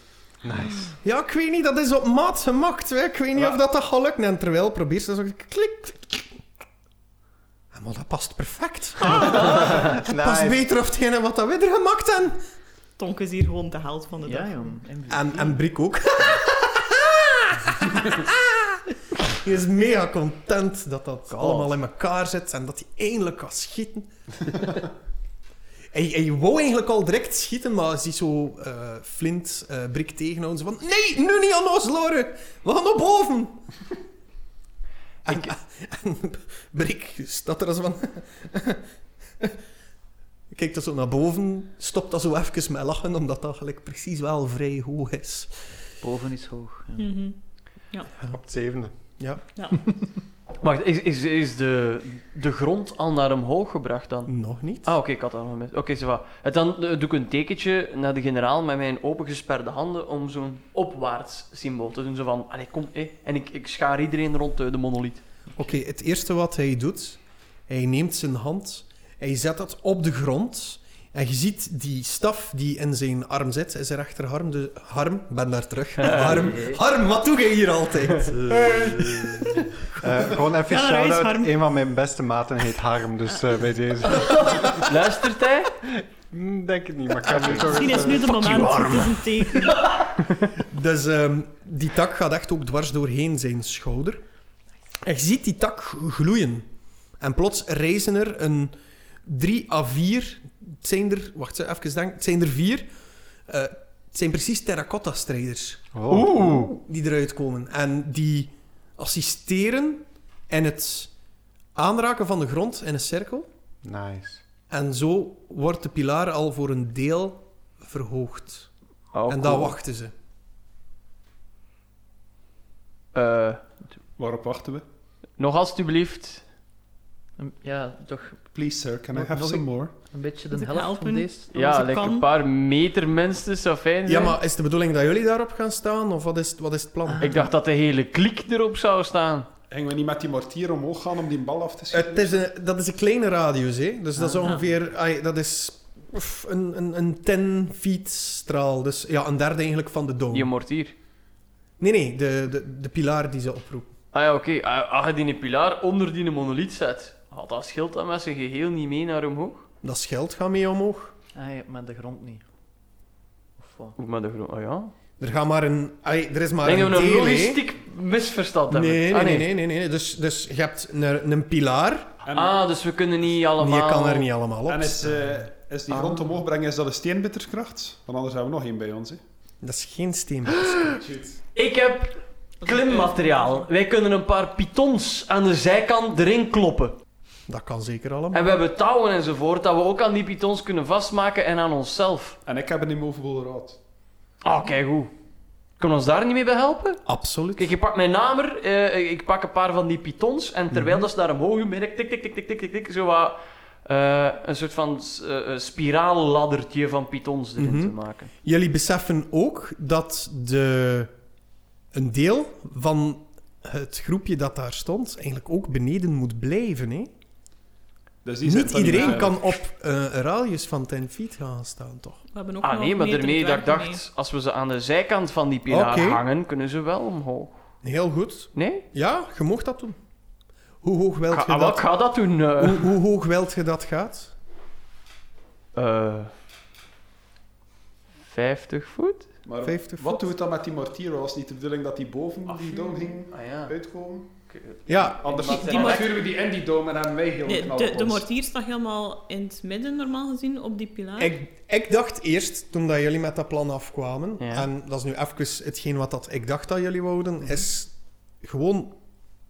Speaker 1: Nice.
Speaker 2: Ja, ik weet niet, dat is op maat gemaakt. hè. Ik weet niet
Speaker 5: Ja.
Speaker 2: of dat, dat gaat lukken. En terwijl probeer ze zo klik. Ja, maar dat past perfect. Het past
Speaker 1: Nice.
Speaker 2: beter op hetgene wat dat we er gemaakt hebben.
Speaker 4: Tonk is hier gewoon de held van de dag.
Speaker 6: Ja, jong.
Speaker 2: En, en Brik ook. Die is mega content dat dat allemaal in elkaar zit en dat hij eindelijk kan schieten. hij, hij wou eigenlijk al direct schieten, maar ziet zo eh, Flint eh Brik tegenhouden. Ze van, nee, nu niet aan ons, Loren. We gaan naar boven. En, en Brik staat er als van... Kijkt dat zo naar boven, stopt dat zo even met lachen, omdat dat gelijk precies wel vrij hoog is.
Speaker 6: Boven is hoog. ja.
Speaker 4: Mhm.
Speaker 1: Op het zevende.
Speaker 2: Ja.
Speaker 3: Wacht, is, is, is de, de grond al naar omhoog gebracht dan?
Speaker 2: Nog niet.
Speaker 3: Ah, oké, ik had dat nog gemist. Oké, okay, Dan eh, doe ik een tekentje naar de generaal met mijn opengesperde handen om zo'n opwaarts symbool te doen. Zo van, allee, kom, eh. En ik, ik schaar iedereen rond eh, de monolith.
Speaker 2: Oké, het eerste wat hij doet, hij neemt zijn hand, hij zet dat op de grond. En je ziet die staf die in zijn arm zit, is zijn rechterarm. Dus arm, ben daar terug. Arm, arm, wat doe jij hier altijd?
Speaker 1: Eh, gewoon even
Speaker 4: Ja, daar is
Speaker 1: shout-out.
Speaker 4: Harm.
Speaker 1: Een van mijn beste maten heet Harm, dus eh, bij deze.
Speaker 3: Luistert hij?
Speaker 1: Hm, Denk het niet, maar ik kan nu toch...
Speaker 4: Misschien is
Speaker 1: eens,
Speaker 4: nu de moment.
Speaker 2: you, arm.
Speaker 4: Het is een teken.
Speaker 2: Dus ehm, die tak gaat echt ook dwars doorheen zijn schouder. En je ziet die tak gloeien. En plots reizen er een drie à vier... Het zijn er... Wacht, even denken. Het zijn er vier. Eh, het zijn precies terracotta-strijders
Speaker 1: eh, oh.
Speaker 2: die eruit komen. En die assisteren in het aanraken van de grond in een cirkel.
Speaker 1: Nice.
Speaker 2: En zo wordt de pilaar al voor een deel verhoogd.
Speaker 3: Oh,
Speaker 2: en daar wachten ze.
Speaker 3: Eh,
Speaker 5: Waarop wachten we?
Speaker 3: nog alstublieft.
Speaker 6: Een- Ja, toch
Speaker 5: Please sir, can I
Speaker 6: Nog-
Speaker 5: have
Speaker 6: nog
Speaker 5: some
Speaker 6: een-
Speaker 5: more?
Speaker 6: een beetje
Speaker 4: Moet
Speaker 6: de
Speaker 4: ik
Speaker 6: helft
Speaker 4: helpen?
Speaker 6: van deze.
Speaker 4: Als
Speaker 3: Ja,
Speaker 4: ik
Speaker 3: lekker
Speaker 4: kan.
Speaker 3: een paar meter minstens zou fijn
Speaker 2: Ja,
Speaker 3: zijn.
Speaker 2: maar is de bedoeling dat jullie daarop gaan staan? Of wat is, wat is het plan?
Speaker 3: Ah. Ik dacht dat de hele kliek erop zou staan.
Speaker 5: Gingen we niet met die mortier omhoog gaan om die bal af te schieten?
Speaker 2: Het is een, dat is een kleine radius, hè? Dus dat is
Speaker 4: Ah.
Speaker 2: ongeveer... ai, dat is pff, een, een, een 10 feet straal. Dus ja, een derde eigenlijk van de
Speaker 3: Die
Speaker 2: dome.
Speaker 3: mortier.
Speaker 2: Nee, nee, de, de, de pilaar die ze oproepen.
Speaker 3: Ah ja, oké. Ah, Als je die pilaar onder die monolith zet, had dat scheelt dan met zijn geheel niet mee naar omhoog?
Speaker 2: Dat scheld gaat mee omhoog.
Speaker 6: Ah, ja, maar de grond niet. Of wat?
Speaker 3: Hoe met de grond? Ah ja.
Speaker 2: Er gaat maar een... ai, er is maar
Speaker 3: Ik denk
Speaker 2: een
Speaker 3: dat we een
Speaker 2: deel, hè.
Speaker 3: logistiek misverstand hebben.
Speaker 2: Nee,
Speaker 3: Ah,
Speaker 2: nee, nee, nee, nee, nee. Dus, dus je hebt een, een pilaar.
Speaker 5: En,
Speaker 3: Ah, dus we kunnen niet allemaal...
Speaker 2: Je kan er niet allemaal op.
Speaker 5: en is, eh, is die grond omhoog brengen, is dat een steenbitterkracht? Want anders hebben we nog één bij ons. Hè.
Speaker 2: Dat is geen steen.
Speaker 3: Ik heb klimmateriaal. Wij kunnen een paar pitons aan de zijkant erin kloppen.
Speaker 2: Dat kan zeker allemaal.
Speaker 3: En we hebben touwen enzovoort, dat we ook aan die pitons kunnen vastmaken en aan onszelf.
Speaker 5: En ik heb een immovable rod.
Speaker 3: Ah, kijk hoe. Kunnen we ons daar niet mee bij helpen?
Speaker 2: Absoluut.
Speaker 3: Kijk, ik pak mijn namer, eh, ik pak een paar van die pitons en terwijl
Speaker 2: Mhm.
Speaker 3: dat ze naar omhoog gaan, merk ik tik, tik, tik, tik, tik, tik, tik, zo wat... eh, een soort van s- eh, eh, spiraalladdertje van pitons erin
Speaker 2: Mhm.
Speaker 3: te maken.
Speaker 2: Jullie beseffen ook dat de, een deel van het groepje dat daar stond eigenlijk ook beneden moet blijven. Hè?
Speaker 5: Dus die zijn
Speaker 2: Niet
Speaker 5: dan
Speaker 2: iedereen
Speaker 5: meer-
Speaker 2: kan op eh, een radius van 10 feet gaan staan, toch?
Speaker 4: We hebben ook
Speaker 3: Ah
Speaker 4: nog
Speaker 3: nee, maar
Speaker 4: meter
Speaker 3: daarmee dat ik
Speaker 4: dwergen, nee.
Speaker 3: dacht, als we ze aan de zijkant van die pilaar
Speaker 2: Oké.
Speaker 3: hangen, kunnen ze wel omhoog.
Speaker 2: Heel goed.
Speaker 3: Nee?
Speaker 2: Ja, je mocht dat doen. Hoe hoog wilt
Speaker 3: Ga,
Speaker 2: je
Speaker 3: ah, wat
Speaker 2: dat,
Speaker 3: gaat dat doen? eh?
Speaker 2: hoe, hoe hoog wilt je dat gaat?
Speaker 3: Eh, 50 voet?
Speaker 5: Maar
Speaker 2: 50
Speaker 5: wat
Speaker 2: voet?
Speaker 5: doen we dan met die mortier? Was niet de bedoeling dat die boven die dome ging
Speaker 3: Ah ja.
Speaker 5: uitkomen?
Speaker 2: Ja,
Speaker 5: Anders
Speaker 3: Die-
Speaker 4: die mor-
Speaker 5: vuren we die in die dome en hebben wij heel
Speaker 4: Nee,
Speaker 5: knal
Speaker 4: de,
Speaker 5: op
Speaker 4: de
Speaker 5: ons.
Speaker 4: mortier staat helemaal in het midden, normaal gezien, op die pilaar.
Speaker 2: Ik, ik dacht eerst, toen dat jullie met dat plan afkwamen,
Speaker 3: Ja.
Speaker 2: en dat is nu even hetgeen wat dat ik dacht dat jullie wouden,
Speaker 4: Mhm.
Speaker 2: is gewoon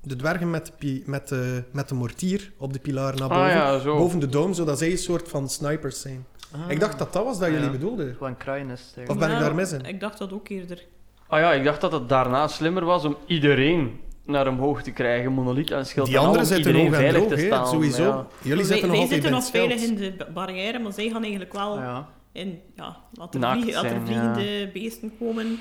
Speaker 2: de dwergen met de, pi- met de, met de mortier op de pilaar naar boven,
Speaker 3: Ah ja, zo.
Speaker 2: boven de dome, zodat zij een soort van snipers zijn.
Speaker 6: Ah,
Speaker 2: Ik dacht dat dat was dat
Speaker 6: Ja.
Speaker 2: jullie bedoelden.
Speaker 6: Gewoon kruinest.
Speaker 2: Of ben ik
Speaker 4: Ja,
Speaker 2: daar mis in?
Speaker 4: Ik dacht dat ook eerder.
Speaker 3: Ah ja, ik dacht dat het daarna slimmer was om iedereen naar omhoog te krijgen, monolith aan schild
Speaker 2: Die
Speaker 3: en al,
Speaker 2: anderen
Speaker 3: om
Speaker 2: zitten
Speaker 3: iedereen
Speaker 2: hoog en
Speaker 3: veilig
Speaker 2: droog,
Speaker 3: te
Speaker 2: hè,
Speaker 3: staan.
Speaker 2: sowieso.
Speaker 3: ja.
Speaker 2: Jullie
Speaker 4: Wij-
Speaker 2: zitten
Speaker 4: wij
Speaker 2: nog altijd
Speaker 4: zitten
Speaker 2: in
Speaker 4: nog
Speaker 2: het veld.
Speaker 4: veilig in de ba- barrière, maar zij gaan eigenlijk wel
Speaker 6: Ja.
Speaker 4: in... Ja, laat er,
Speaker 3: Naakt
Speaker 4: vliegen, laat
Speaker 3: zijn,
Speaker 4: er vliegende beesten komen.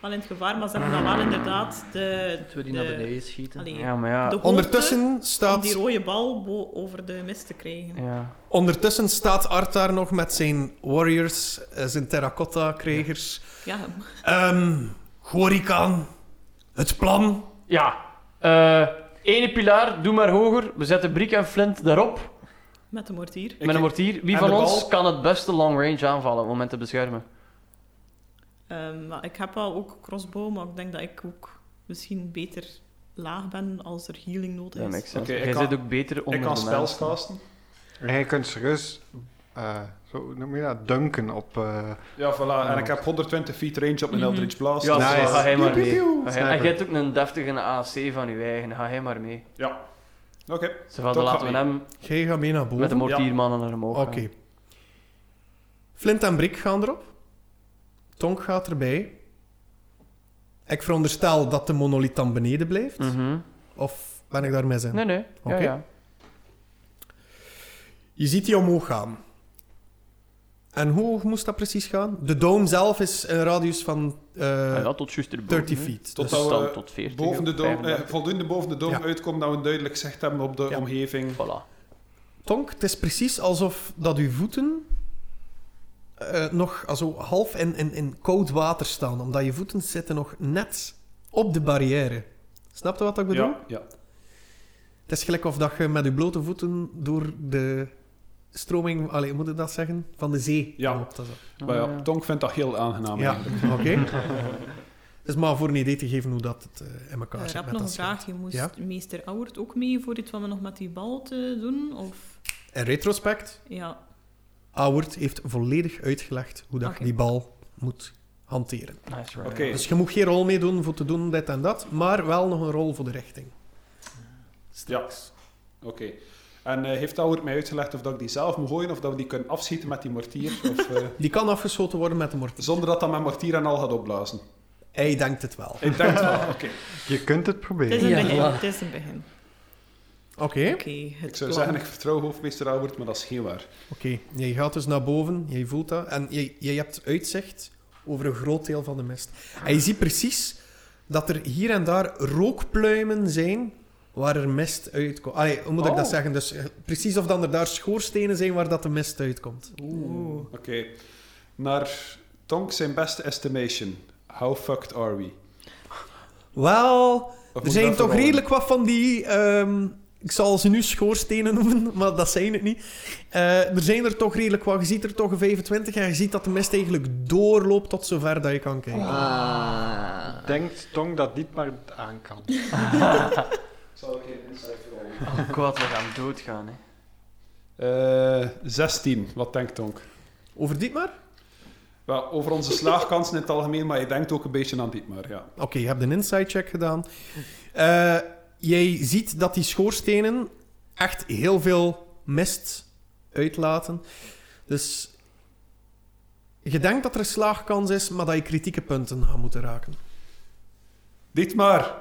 Speaker 4: wel in het gevaar, maar ze hebben dan wel
Speaker 3: Mm.
Speaker 4: inderdaad de,
Speaker 6: Dat we die naar
Speaker 4: de-
Speaker 6: beneden schieten.
Speaker 4: allee,
Speaker 3: Ja, maar ja.
Speaker 4: de hoogte
Speaker 2: Ondertussen
Speaker 4: om die
Speaker 2: staat,
Speaker 4: rode bal bo- over de mist te krijgen.
Speaker 3: ja.
Speaker 2: ondertussen staat Art daar nog met zijn warriors, eh, zijn terracotta-krijgers.
Speaker 4: Ja,
Speaker 2: Ehm Gorikan, het plan.
Speaker 3: Ja. Eh, ene pilaar, doe maar hoger. We zetten Briek en Flint daarop.
Speaker 4: met de mortier.
Speaker 5: Ik-
Speaker 3: met een mortier. Wie
Speaker 5: en
Speaker 3: van
Speaker 5: de
Speaker 3: ons
Speaker 5: bal?
Speaker 3: kan het beste long range aanvallen om hen te beschermen?
Speaker 4: Ehm, maar ik heb wel ook crossbow, maar ik denk dat ik ook misschien beter laag ben als er healing nodig
Speaker 3: Dat
Speaker 4: is. Eh,
Speaker 3: makes sense.
Speaker 5: Oké, ik
Speaker 3: Jij
Speaker 5: kan-
Speaker 3: zit ook beter onder
Speaker 5: Ik kan
Speaker 3: de
Speaker 5: spels
Speaker 3: mensen.
Speaker 5: casten.
Speaker 1: En je kunt serieus, eh, zo hoe noem je dat, dunken op... eh,
Speaker 5: Ja, voilà. En ik heb 120 feet range op mijn
Speaker 4: Mhm.
Speaker 5: Eldritch Blast.
Speaker 3: Ja,
Speaker 5: Dus,
Speaker 1: Nice.
Speaker 3: zo, ga hij maar
Speaker 1: Piu,
Speaker 3: mee.
Speaker 1: piu, piu.
Speaker 3: Ga jij- En
Speaker 1: Sniper.
Speaker 3: jij hebt ook een deftige AC van je eigen. Ga hij maar mee.
Speaker 5: Oké.
Speaker 3: Ze van,
Speaker 5: Toch
Speaker 3: dan laten we
Speaker 5: ga ik.
Speaker 3: hem
Speaker 2: Jij gaat mee naar boven.
Speaker 3: met de mortiermannen naar omhoog
Speaker 2: Oké.
Speaker 3: gaan.
Speaker 2: Flint en Brik gaan erop. Tonk gaat erbij. Ik veronderstel dat de monolith dan beneden blijft.
Speaker 3: Mhm.
Speaker 2: Of ben ik daar mis in?
Speaker 3: Nee, nee.
Speaker 2: Oké.
Speaker 3: Ja, ja.
Speaker 2: Je ziet die omhoog gaan. En hoe hoog moest dat precies gaan? De dome zelf is een radius van eh,
Speaker 3: Ah, ja, tot juist erboven,
Speaker 2: 30
Speaker 3: hè.
Speaker 2: feet. Dus-
Speaker 5: Tot dat
Speaker 3: Dus
Speaker 5: we
Speaker 3: dan tot 40.
Speaker 5: eh, Boven de dome, eh,
Speaker 3: 35.
Speaker 5: voldoende boven de dome
Speaker 2: Ja.
Speaker 5: uitkomt dat we een duidelijk zicht hebben op de
Speaker 2: Ja.
Speaker 5: omgeving.
Speaker 3: Voilà.
Speaker 2: Tonk, het is precies alsof dat uw voeten eh, nog ah, zo half in, in, in koud water staan. Omdat je voeten zitten nog net op de barrière. Snap je wat ik bedoel?
Speaker 5: Ja, ja.
Speaker 2: Het is gelijk of dat je met je blote voeten door de stroming, allee, hoe moet ik dat zeggen, van de zee
Speaker 5: Ja.
Speaker 2: loopt. Dat zo.
Speaker 5: Maar
Speaker 3: Ah,
Speaker 5: ja, Tonk vindt dat heel aangenaam.
Speaker 2: Ja,
Speaker 5: eigenlijk.
Speaker 2: oké. Dus maar voor een idee te geven hoe dat het eh, in elkaar
Speaker 4: Eh, ik
Speaker 2: zit. met
Speaker 4: heb nog een
Speaker 2: dat scherm.
Speaker 4: vraag. Je moest
Speaker 2: Ja?
Speaker 4: meester Auwert ook mee voor dit van me nog met die bal te doen? Of...
Speaker 2: In retrospect,
Speaker 4: Ja,
Speaker 2: Awert heeft volledig uitgelegd hoe dat je
Speaker 4: Oké.
Speaker 2: die bal moet hanteren.
Speaker 3: Nice run.
Speaker 5: Oké.
Speaker 2: Dus je moet geen rol meedoen voor te doen dit en dat, maar wel nog een rol voor de richting. Straks.
Speaker 5: Oké. En eh, heeft Albert mij uitgelegd of dat ik die zelf moet gooien of dat we die kunnen afschieten met die mortier? Of, eh,
Speaker 2: Die kan afgeschoten worden met de mortier.
Speaker 5: zonder dat dat mijn mortier en al gaat opblazen.
Speaker 2: Hij denkt het wel.
Speaker 5: Ik denk het wel. Oké.
Speaker 1: je kunt het
Speaker 4: het is
Speaker 1: proberen.
Speaker 4: een
Speaker 6: Ja.
Speaker 4: begin.
Speaker 6: Ja.
Speaker 4: Het is een begin.
Speaker 2: Oké,
Speaker 4: Oké, het
Speaker 5: Ik zou
Speaker 4: plan.
Speaker 5: zeggen, ik vertrouw hoofdmeester Albert, maar dat is geen waar.
Speaker 2: oké. Jij gaat dus naar boven, jij voelt dat. En jij, jij hebt uitzicht over een groot deel van de mist. En je ziet precies dat er hier en daar rookpluimen zijn waar er mist uitkomt. Allee, hoe moet ik dat
Speaker 3: Oh.
Speaker 2: zeggen? Dus eh, precies of dan er daar schoorstenen zijn waar dat de mist uitkomt.
Speaker 4: Oeh.
Speaker 5: Oké. Naar Tonk zijn beste estimation. How fucked are we?
Speaker 2: Wel...
Speaker 5: Of moet
Speaker 2: Er
Speaker 5: ik
Speaker 2: zijn
Speaker 5: dat
Speaker 2: toch
Speaker 5: veranderen?
Speaker 2: redelijk wat van die. ehm, ik zal ze nu schoorstenen noemen, maar dat zijn het niet. Eh, er zijn er toch redelijk wat. Je ziet er toch een 25 en je ziet dat de mist eigenlijk doorloopt tot zover dat je kan kijken.
Speaker 6: Ah.
Speaker 1: Denkt Tong dat dit maar aan kan.
Speaker 5: Zal ik een insight rollen?
Speaker 3: Oh god, we gaan doodgaan, hè.
Speaker 5: Eh, 16. Wat denkt Tonk?
Speaker 2: Over dit maar?
Speaker 5: Wel, over onze slaagkansen in het algemeen, maar je denkt ook een beetje aan Dietmar, ja.
Speaker 2: Oké, je hebt een inside check gedaan. Eh, jij ziet dat die schoorstenen echt heel veel mist uitlaten. Dus je denkt dat er een slaagkans is, maar dat je kritieke punten gaat moeten raken.
Speaker 5: Dietmar!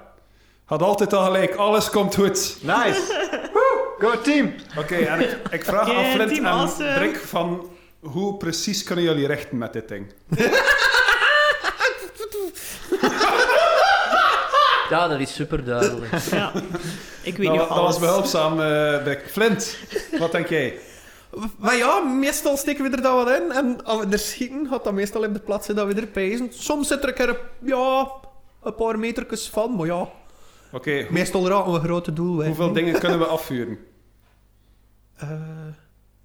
Speaker 5: Had altijd al gelijk, alles komt goed.
Speaker 1: Nice! Woe! Go team!
Speaker 5: Oké, en ik, ik vraag
Speaker 4: Yeah,
Speaker 5: aan Flint
Speaker 4: team
Speaker 5: en
Speaker 4: awesome.
Speaker 5: Rick van hoe precies kunnen jullie rechten met dit ding?
Speaker 6: Ja, dat is super duidelijk.
Speaker 4: Ja. Ik weet
Speaker 5: Dat, wa-
Speaker 4: niet
Speaker 5: dat
Speaker 4: of alles...
Speaker 5: was behulpzaam, eh Rick. Flint, wat denk jij?
Speaker 2: Maar ja, meestal steken we er dan wat in. En als we er schieten, gaat dat meestal op de plaats zijn dat we er pijzen. Soms zit er een keer een- ja, een paar metertjes van. Maar ja,
Speaker 5: Oké, hoe-
Speaker 2: meestal raken we grote doel. weg.
Speaker 5: hoeveel dingen kunnen we afvuren?
Speaker 2: Eh,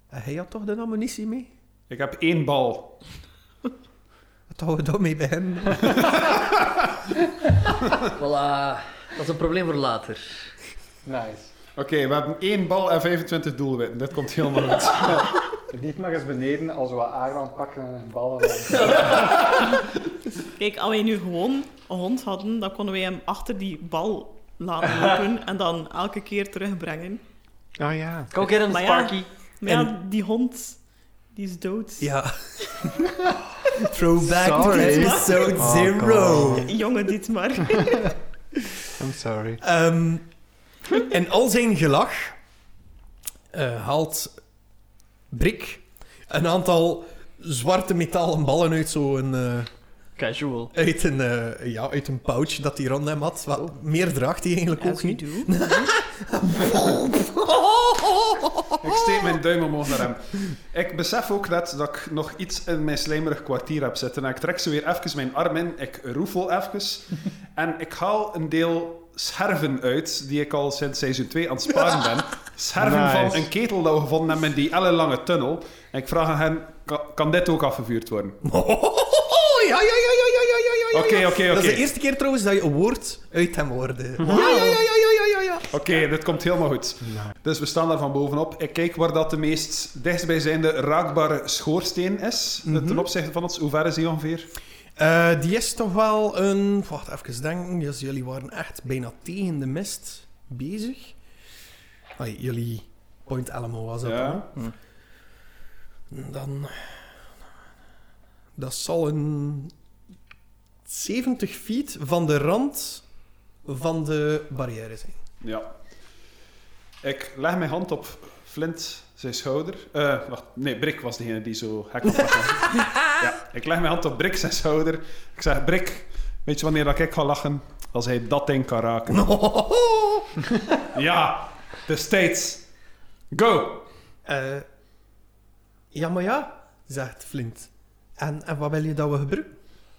Speaker 2: hij had toch de ammunitie mee?
Speaker 5: Ik heb één bal.
Speaker 2: Wat houden we daarmee bij hem?
Speaker 6: Voilà. Dat is een probleem voor later.
Speaker 1: Nice.
Speaker 5: Oké, we hebben één bal en 25 doelwitten. Dit komt helemaal goed.
Speaker 1: Dit maar eens beneden als we Aaron pakken en een bal.
Speaker 4: Kijk, als wij nu gewoon een hond hadden, dan konden wij hem achter die bal laten lopen en dan elke keer terugbrengen.
Speaker 1: Oh ja.
Speaker 3: Go get him,
Speaker 4: Maar ja.
Speaker 3: Sparky.
Speaker 4: Maar ja, die hond, die is dood.
Speaker 2: Ja. Throwback to
Speaker 1: Sorry.
Speaker 2: episode
Speaker 1: Oh,
Speaker 2: zero.
Speaker 1: God.
Speaker 4: Jongen, dit maar.
Speaker 1: I'm sorry.
Speaker 2: Ehm, en al zijn gelach eh, haalt Brik een aantal zwarte metalen ballen uit zo'n eh
Speaker 3: Casual.
Speaker 2: Uit een, eh, ja, uit een pouch dat hij rond hem had. Wat, Meer draagt hij eigenlijk ook
Speaker 4: As we
Speaker 2: niet.
Speaker 4: do.
Speaker 5: Ik steek mijn duim omhoog naar hem. Ik besef ook net dat ik nog iets in mijn slijmerig kwartier heb zitten. En ik trek ze weer even mijn arm in. Ik roefel even. En ik haal een deel scherven uit, die ik al sinds seizoen 2 aan het sparen ben. Scherven
Speaker 1: Nice.
Speaker 5: van een ketel dat we gevonden hebben in die ellenlange tunnel. En ik vraag aan hen, "Ka- kan dit ook afgevuurd worden?
Speaker 2: Oh, ja, ja, ja, ja, ja, ja, ja, ja, ja.
Speaker 5: Oké, oké, Hm.
Speaker 2: Dat is
Speaker 5: oké.
Speaker 2: de eerste keer trouwens dat je een woord uit hem hoorde. Ja, ja, ja, ja, ja, ja, ja.
Speaker 5: Oké, dit komt helemaal goed. Dus we staan daar van bovenop. Ik kijk waar dat de meest dichtstbijzijnde raakbare schoorsteen is. eh, Ten opzichte van ons, hoe ver is die ongeveer?
Speaker 2: Eh, die is toch wel een... Wacht, even denken. Dus jullie waren echt bijna tegen de mist bezig. Ai, jullie Point Alamo was dat
Speaker 5: Ja.
Speaker 2: dan. hè? Dan... Dat zal een... 70 feet van de rand van de barrière zijn.
Speaker 5: Ja. Ik leg mijn hand op Flint zijn schouder. Eh, wacht, nee, Brik was degene die zo hek op was. ja, ik leg mijn hand op Brik zijn schouder. Ik zeg, Brik, weet je wanneer dat ik ga lachen? Als hij dat ding kan raken. ja, de States. Go!
Speaker 2: Eh, ja, maar ja, zegt Flint. En, en wat wil je dat we gebruiken?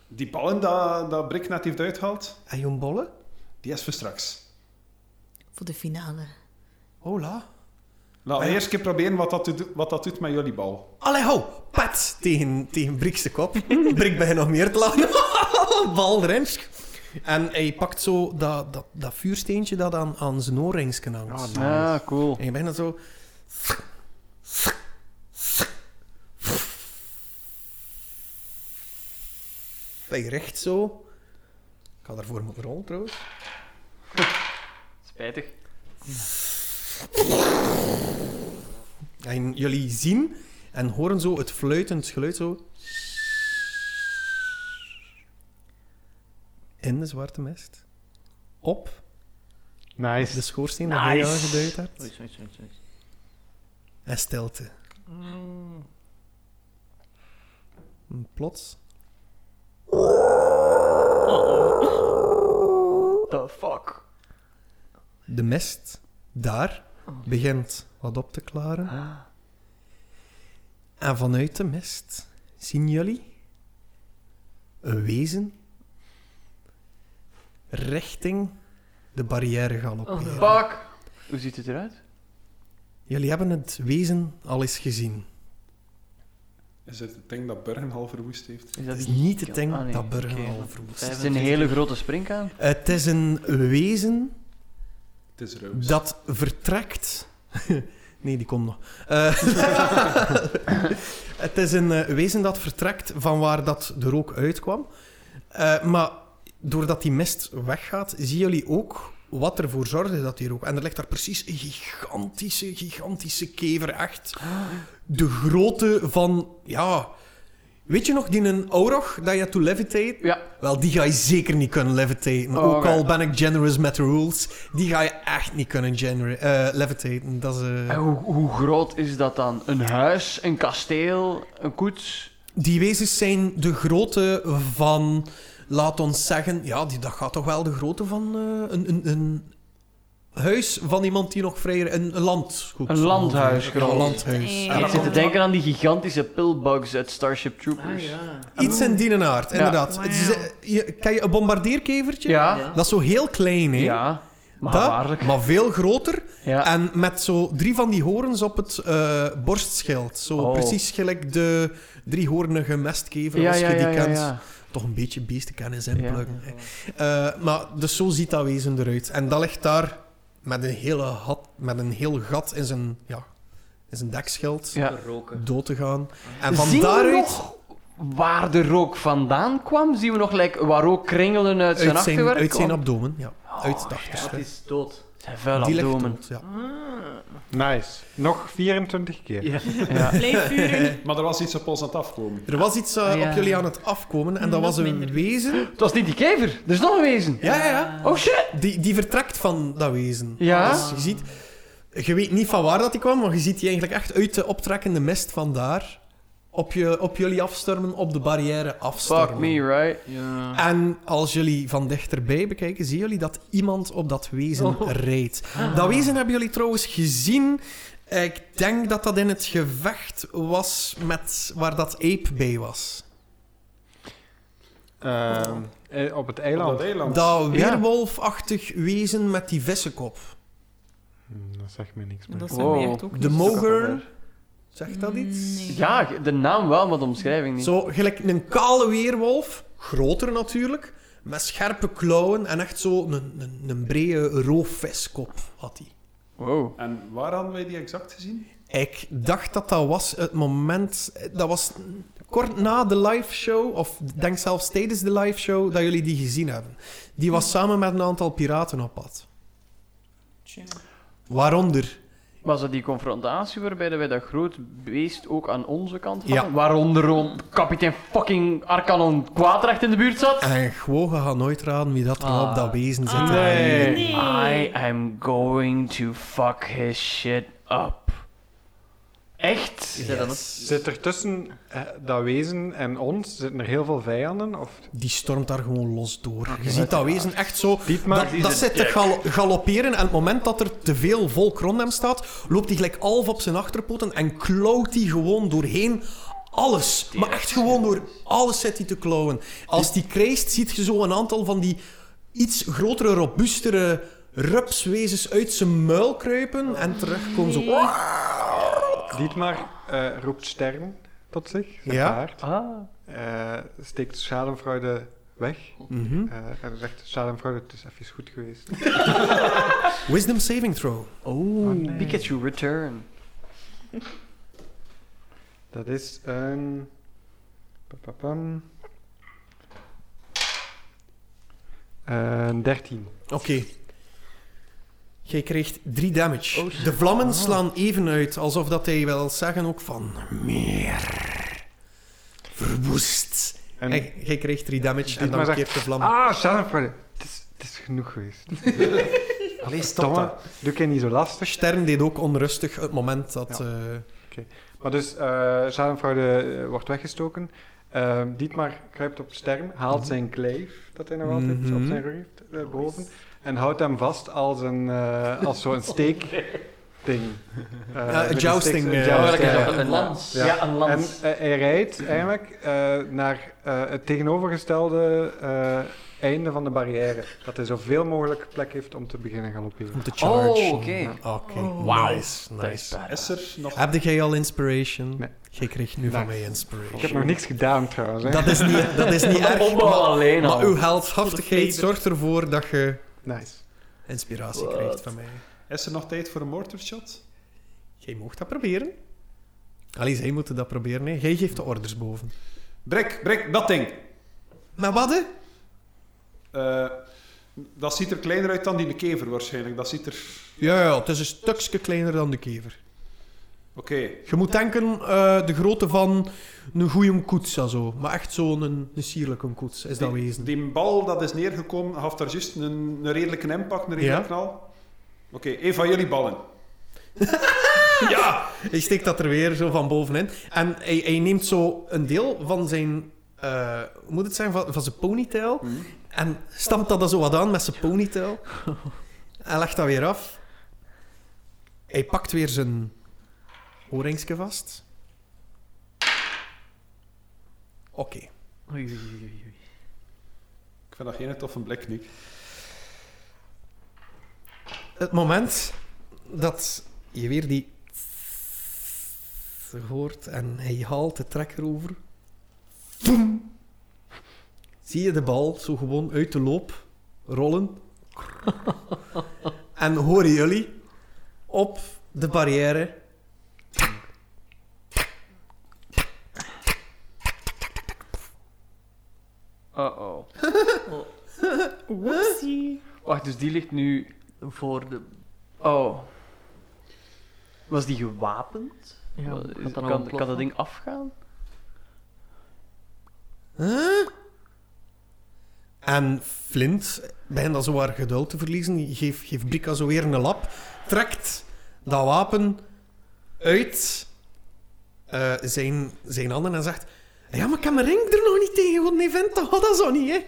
Speaker 5: Die ballen dat, dat Brik net heeft uitgehaald,
Speaker 2: En je bollen?
Speaker 5: die is voor straks.
Speaker 4: Voor de finale.
Speaker 2: Hola.
Speaker 5: Laten we Nou, eerst keer proberen wat dat, doet- wat dat doet met jullie bal.
Speaker 2: Allee, ho! Pat! Tegen, tegen Brik's de kop. Brik begint nog meer te lachen. Bal remsk. En hij pakt zo dat, dat, dat vuursteentje dat aan, aan zijn oorringsken hangt.
Speaker 1: Ah, nice.
Speaker 6: Ah, cool.
Speaker 2: En je bent dan zo... Bij recht zo. Ik had daarvoor moeten rollen trouwens.
Speaker 3: Spijtig.
Speaker 2: En jullie zien en horen zo het fluitend geluid zo. In de zwarte mist. Op de
Speaker 1: Nice.
Speaker 2: schoorsteen dat hij
Speaker 3: Nice.
Speaker 2: aangeduid hebt.
Speaker 6: Oei, oei, oei, oei.
Speaker 2: En stilte.
Speaker 3: Mm.
Speaker 2: En plots.
Speaker 3: The fuck?
Speaker 2: De mist daar begint wat op te
Speaker 3: Ah.
Speaker 2: klaren. En vanuit de mist zien jullie een wezen richting de barrière
Speaker 3: Oh,
Speaker 2: galopperen.
Speaker 3: fuck. Hoe ziet het eruit?
Speaker 2: Jullie hebben het wezen al eens gezien.
Speaker 5: Is het het ding dat Burgenhal verwoest heeft?
Speaker 3: Is
Speaker 2: Het
Speaker 3: dat
Speaker 2: is
Speaker 3: die-
Speaker 2: niet het ding
Speaker 3: Ah, nee.
Speaker 2: dat Burgen
Speaker 3: Oké.
Speaker 2: al verwoest.
Speaker 3: Het is een hele grote springkaan.
Speaker 2: Het is een wezen
Speaker 5: Het is roos.
Speaker 2: dat vertrekt. nee, die komt nog. Eh, het is een eh, wezen dat vertrekt van waar dat de rook uitkwam. Eh, maar doordat die mist weggaat, zien jullie ook wat ervoor zorgde dat die rook. En er ligt daar precies een gigantische, gigantische kever. Echt de grootte van. Ja. Weet je nog die een Aurog dat je to levitate?
Speaker 3: Ja.
Speaker 2: Wel, die ga je zeker niet kunnen levitaten.
Speaker 3: Oh,
Speaker 2: Ook
Speaker 3: oké.
Speaker 2: al ben ik generous met de rules, die ga je echt niet kunnen genera- eh, levitaten. Dat is, eh,
Speaker 3: En hoe, hoe groot is dat dan? Een huis, een kasteel, een koets?
Speaker 2: Die wezens zijn de grootte van, laat ons zeggen, ja, die, dat gaat toch wel de grootte van eh, een, een, een huis van iemand die nog vrijer... Een, een landgoed.
Speaker 3: Een landhuis
Speaker 2: Ja,
Speaker 3: groot.
Speaker 2: Een landhuis.
Speaker 4: Eh,
Speaker 5: Ja,
Speaker 3: ik
Speaker 5: dat
Speaker 3: zit te
Speaker 5: komt-
Speaker 3: denken aan die gigantische pillbugs uit Starship
Speaker 6: Ah,
Speaker 3: Troopers.
Speaker 6: ja.
Speaker 2: Iets in die aard,
Speaker 3: Ja.
Speaker 2: inderdaad.
Speaker 4: Wauw.
Speaker 2: Het is, eh, je, ken je een bombardeerkevertje?
Speaker 3: Ja.
Speaker 6: Ja.
Speaker 2: Dat is zo heel klein, hè?
Speaker 3: Ja. Maar
Speaker 2: Dat, Ah,
Speaker 3: waarlijk.
Speaker 2: maar veel groter.
Speaker 3: Ja.
Speaker 2: En met zo drie van die horens op het eh, borstschild. Zo
Speaker 3: Oh.
Speaker 2: precies gelijk de driehornige mestkever,
Speaker 3: ja,
Speaker 2: als je
Speaker 3: ja,
Speaker 2: die
Speaker 3: ja, ja,
Speaker 2: kent.
Speaker 3: ja.
Speaker 2: Toch een beetje beestenkennis
Speaker 3: Ja.
Speaker 2: inpluggen. Eh, maar dus zo ziet dat wezen eruit. En dat ligt daar met een, hele hat, met een heel gat in zijn, ja, in zijn dekschild
Speaker 3: Ja.
Speaker 6: Roken.
Speaker 2: dood te gaan. En van
Speaker 3: Zien we
Speaker 2: daaruit...
Speaker 3: nog waar de rook vandaan kwam? Zien we nog like, waar ook kringelen uit zijn
Speaker 2: uit zijn,
Speaker 3: achterwerk Oh,
Speaker 2: uit zijn
Speaker 3: kwam?
Speaker 2: abdomen, ja. uit het
Speaker 6: Dat
Speaker 2: achterste.
Speaker 6: is dood.
Speaker 3: Zijn vuil
Speaker 2: Die ligt
Speaker 3: abdomen. Hm?
Speaker 2: dood, ja.
Speaker 1: Nice. Nog 24 keer.
Speaker 6: Ja.
Speaker 3: Ja.
Speaker 4: Blijfvuren.
Speaker 5: Maar er was iets op ons aan het afkomen.
Speaker 2: Er was iets eh,
Speaker 6: Ah, ja.
Speaker 2: op jullie aan het afkomen en
Speaker 3: Mm,
Speaker 2: dat
Speaker 4: Nog
Speaker 2: was een
Speaker 4: minder.
Speaker 2: wezen.
Speaker 3: Het was niet die kever. Er is nog een wezen.
Speaker 2: Ja, ja, ja.
Speaker 3: Oh shit.
Speaker 2: Die, die vertrekt van dat wezen.
Speaker 3: Ja.
Speaker 2: Dus je ziet... Je weet niet van waar dat die kwam, maar je ziet die eigenlijk echt uit de optrekkende mist vandaar op, je, op jullie afstormen, op de barrière afstormen.
Speaker 3: Fuck me, right?
Speaker 6: Ja.
Speaker 2: En als jullie van dichterbij bekijken, zien jullie dat iemand op dat wezen
Speaker 3: Oh.
Speaker 2: reed. Dat wezen hebben jullie trouwens gezien. Ik denk dat dat in het gevecht was met waar dat ape bij was.
Speaker 1: Ehm, eh, op het eiland.
Speaker 5: Op dat eiland.
Speaker 2: Dat weerwolfachtig wezen met die vissenkop.
Speaker 1: Hm, dat zegt me niks meer.
Speaker 4: Dat zijn
Speaker 3: Wow.
Speaker 4: we echt ook
Speaker 2: De
Speaker 4: niet.
Speaker 2: mo- Moger. Zegt dat iets?
Speaker 4: Nee.
Speaker 3: Ja, de naam wel, maar de omschrijving niet.
Speaker 2: Zo, gelijk een kale weerwolf, groter natuurlijk, met scherpe klauwen en echt zo een, een, een brede roofviskop had hij.
Speaker 3: Wow.
Speaker 5: En waar hadden wij die exact gezien?
Speaker 2: Ik dacht dat dat was het moment. Dat was kort na de live show, of denk zelfs tijdens de live show, dat jullie die gezien hebben. Die was samen met een aantal piraten op pad.
Speaker 4: Tja.
Speaker 2: Waaronder.
Speaker 3: Was dat die confrontatie waarbij wij dat groot beest ook aan onze kant hadden?
Speaker 2: Ja.
Speaker 3: Waaronder om kapitein fucking Arcanon Kwaadrecht in de buurt zat?
Speaker 2: En Gwoge gaat nooit raden wie dat er
Speaker 3: Ah.
Speaker 2: op dat wezen zit.
Speaker 4: Ah,
Speaker 3: Nee.
Speaker 4: Nee.
Speaker 3: I am going to fuck his shit up. Echt?
Speaker 6: Is dat dan
Speaker 2: Yes.
Speaker 1: Zit er tussen eh, dat wezen en ons zitten er heel veel vijanden? Of...
Speaker 2: Die stormt daar gewoon los door. Je ziet dat wezen echt zo
Speaker 1: Dietmar,
Speaker 2: dat, dat zit te gal- galopperen en op het moment dat er te veel volk rond hem staat, loopt hij gelijk half op zijn achterpoten en klauwt hij gewoon doorheen alles. Maar echt gewoon door alles zit hij te klauwen. Als die krijst, ziet je zo een aantal van die iets grotere, robuustere rupswezens uit zijn muil kruipen en terugkomen zo...
Speaker 4: Nee.
Speaker 1: Dietmar eh, roept Stern tot zich, zijn
Speaker 2: Ja.
Speaker 1: paard.
Speaker 3: Ah.
Speaker 1: Eh, steekt schadenfreude weg.
Speaker 2: Mhm.
Speaker 1: Eh, en zegt schadenfreude, het is even goed geweest.
Speaker 2: Wisdom saving throw.
Speaker 3: Oh,
Speaker 1: nee.
Speaker 3: Pikachu Return.
Speaker 1: Dat is een... pa, pa, pam. Een 13.
Speaker 2: Oké. Jij krijgt 3 damage.
Speaker 3: Oh, shit.
Speaker 2: de vlammen slaan even uit, alsof dat hij wel zeggen ook van meer. Verwoest.
Speaker 1: En...
Speaker 2: En jij krijgt 3 damage en
Speaker 1: Dit
Speaker 2: dan
Speaker 1: maar
Speaker 2: keert de vlam.
Speaker 1: Ah, schadenfreude. Het is, het is genoeg geweest.
Speaker 5: Allee,
Speaker 1: Domme, doe ik je niet zo lastig.
Speaker 2: Stern deed ook onrustig het moment dat.
Speaker 1: Ja.
Speaker 2: eh,
Speaker 1: Maar dus, eh schadenfraude eh, wordt weggestoken. Eh, Dietmar kruipt op Stern, haalt
Speaker 2: Mhm.
Speaker 1: zijn kleef, dat hij nog altijd op
Speaker 2: Mhm.
Speaker 1: zijn rug heeft, eh, boven, en houdt hem vast als, een, eh, als zo'n steekding. Eh,
Speaker 2: Ja,
Speaker 1: met
Speaker 2: een
Speaker 1: een
Speaker 2: jousting.
Speaker 1: steek- een
Speaker 2: eh,
Speaker 1: joust,
Speaker 2: ja.
Speaker 1: ja.
Speaker 3: Een lans. Ja, een
Speaker 1: En
Speaker 3: lans.
Speaker 1: eh, hij rijdt eigenlijk eh, naar eh, het tegenovergestelde eh, einde van de barrière. Dat hij zoveel mogelijk plek heeft om te beginnen galopperen.
Speaker 2: om te charge.
Speaker 3: Oh, oké.
Speaker 2: Wauw. Nice,
Speaker 3: Dat is
Speaker 2: nice.
Speaker 3: badass.
Speaker 5: Is er nog...
Speaker 2: Heb jij al inspiration?
Speaker 1: Nee.
Speaker 2: Jij krijgt nu van mij inspiration.
Speaker 1: Ik heb nog niks gedaan trouwens. Hè.
Speaker 2: Dat is niet, dat is niet
Speaker 3: De
Speaker 2: erg.
Speaker 3: opbouw
Speaker 2: Maar,
Speaker 3: alleen
Speaker 2: maar uw
Speaker 3: al.
Speaker 2: heldhaftigheid zorgt ervoor dat je
Speaker 1: Nice.
Speaker 2: inspiratie krijgt van mij.
Speaker 5: Is er nog tijd voor een mortarshot?
Speaker 2: Jij mocht dat proberen. Allee, zij moeten dat proberen. Hè. Jij geeft de orders boven.
Speaker 5: Brik, brik, dat ding.
Speaker 2: Maar wat, hè?
Speaker 5: Eh, dat ziet er kleiner uit dan die kever waarschijnlijk. Dat ziet er...
Speaker 2: Ja, ja, het is een stukje kleiner dan de kever.
Speaker 5: Oké.
Speaker 2: Je moet denken eh, de grootte van een goeie koets, en zo. Maar echt zo'n een, een sierlijke koets, is dat
Speaker 5: Die-
Speaker 2: wezen.
Speaker 5: Die bal dat is neergekomen, heeft daar juist een, een redelijke impact, een redelijke
Speaker 2: Ja.
Speaker 5: knal. Oké, een van jullie ballen. ja!
Speaker 2: Hij steekt dat er weer zo van bovenin. En hij, hij neemt zo een deel van zijn... eh, hoe moet het zijn? Van, van zijn ponytail. En stampt dat dan zo wat aan met zijn ponytail. En legt dat weer af. Hij pakt weer zijn oorringske vast. Oké.
Speaker 3: Oei, oei, oei, oei.
Speaker 5: Ik vind dat geen toffe blik, Nick.
Speaker 2: Het moment dat je weer die hoort en hij haalt de trekker over. Boem. Zie je de bal zo gewoon uit de loop rollen. en horen jullie op de barrière.
Speaker 3: Uh-oh.
Speaker 4: Whoopsie.
Speaker 3: oh. Wacht, dus die ligt nu voor de... Oh. Was die gewapend?
Speaker 6: Ja,
Speaker 3: Wel,
Speaker 6: gaat
Speaker 3: is-
Speaker 6: dat nou
Speaker 3: kan, kan
Speaker 6: ontploffen?
Speaker 3: dat ding afgaan?
Speaker 2: Huh? En Flint begint al zo haar geduld te verliezen. Geeft geef Brika zo weer een lap. Trekt dat wapen uit. eh, zijn, zijn handen en zegt... Ja, maar ik heb mijn ring er nog niet tegen, want een event, dat gaat dat zo niet, hè.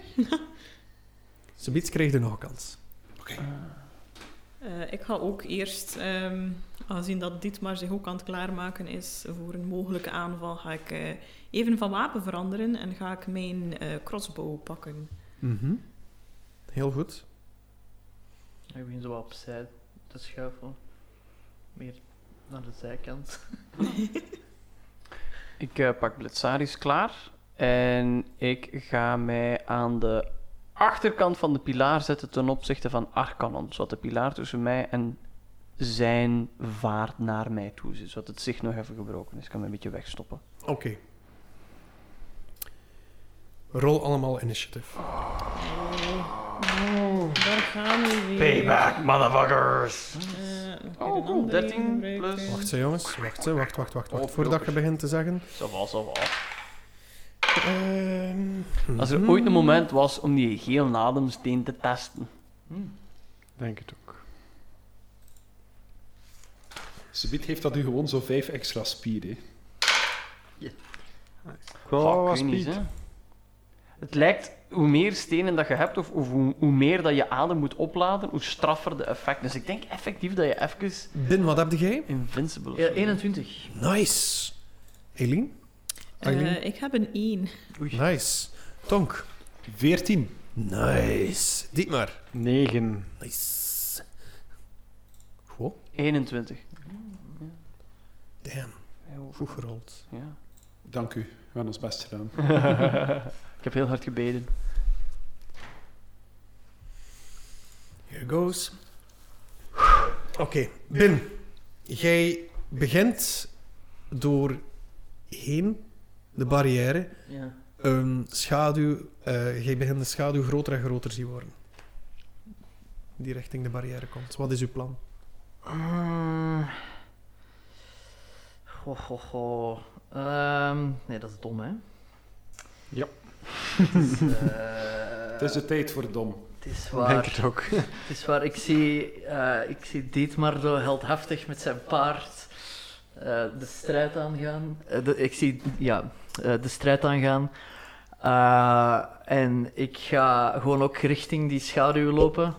Speaker 2: Zoiets krijg je nog een kans.
Speaker 4: Eh, ik ga ook eerst, ehm, aangezien dat Dietmar zich ook aan het klaarmaken is voor een mogelijke aanval, ga ik eh, even van wapen veranderen en ga ik mijn eh, crossbow pakken.
Speaker 2: Mhm. Heel goed.
Speaker 6: Ik begin zo wat opzij te schuiven. Meer naar de zijkant.
Speaker 3: Ik eh, pak Blitzaris klaar. En ik ga mij aan de achterkant van de pilaar zetten ten opzichte van Arcanon. Zodat de pilaar tussen mij en zijn vaart naar mij toe zit. Zodat het zicht nog even gebroken is. Ik kan me een beetje wegstoppen.
Speaker 2: Oké. Rol allemaal initiative.
Speaker 4: Daar gaan we weer.
Speaker 3: motherfuckers!
Speaker 4: Eh, nog
Speaker 3: Oh,
Speaker 4: een
Speaker 3: cool.
Speaker 4: andere
Speaker 3: 13
Speaker 4: gebruiken.
Speaker 3: plus-
Speaker 2: Wacht, hè, jongens. Wacht, hè. Wacht, wacht, wacht. wacht.
Speaker 3: Oh,
Speaker 2: Voordat je begint te zeggen...
Speaker 3: Zo was, zo was.
Speaker 2: Ehm,
Speaker 3: Als er ooit een moment was om die geel nademsteen te testen.
Speaker 1: Denk het ook.
Speaker 5: Subiet heeft dat u gewoon zo vijf extra spier, hè.
Speaker 1: Wel
Speaker 3: Fuck,
Speaker 1: was
Speaker 3: ik weet niet,
Speaker 1: Piet.
Speaker 3: hè. Het lijkt, hoe meer stenen dat je hebt, of, of hoe, hoe meer dat je adem moet opladen, hoe straffer de effect. Dus ik denk effectief dat je even
Speaker 2: Bin, wat heb jij?
Speaker 3: invincible
Speaker 6: Ja,
Speaker 3: is.
Speaker 6: 21.
Speaker 2: Nice. Eileen? Eileen?
Speaker 4: Eh, ik heb een 1.
Speaker 2: Nice. Tonk?
Speaker 5: Veertien.
Speaker 2: Nice. Dietmar?
Speaker 1: 9.
Speaker 2: Nice. Goh.
Speaker 3: 21.
Speaker 2: Damn. Goed gerold.
Speaker 3: Ja.
Speaker 5: Dank u. We hebben ons best gedaan.
Speaker 3: ik heb heel hard gebeden.
Speaker 2: Here goes. Oké, Bin. Jij begint door heen de barrière
Speaker 6: Ja.
Speaker 2: een schaduw, eh, jij begint de schaduw groter en groter zien worden. Die richting de barrière komt. Wat is uw plan?
Speaker 6: Mm. Ho, ho, ho. Ehm, nee, dat is dom, hè?
Speaker 1: Ja.
Speaker 6: Dus, eh,
Speaker 5: Het is de tijd voor dom.
Speaker 6: het is
Speaker 1: Denk
Speaker 6: waar.
Speaker 1: het ook.
Speaker 6: Het is waar. Ik zie, eh, ik zie Dietmar zo heldhaftig met zijn paard eh, de strijd aangaan. Eh, de- ik zie, ja, eh, de strijd aangaan. Eh, en ik ga gewoon ook richting die schaduw lopen.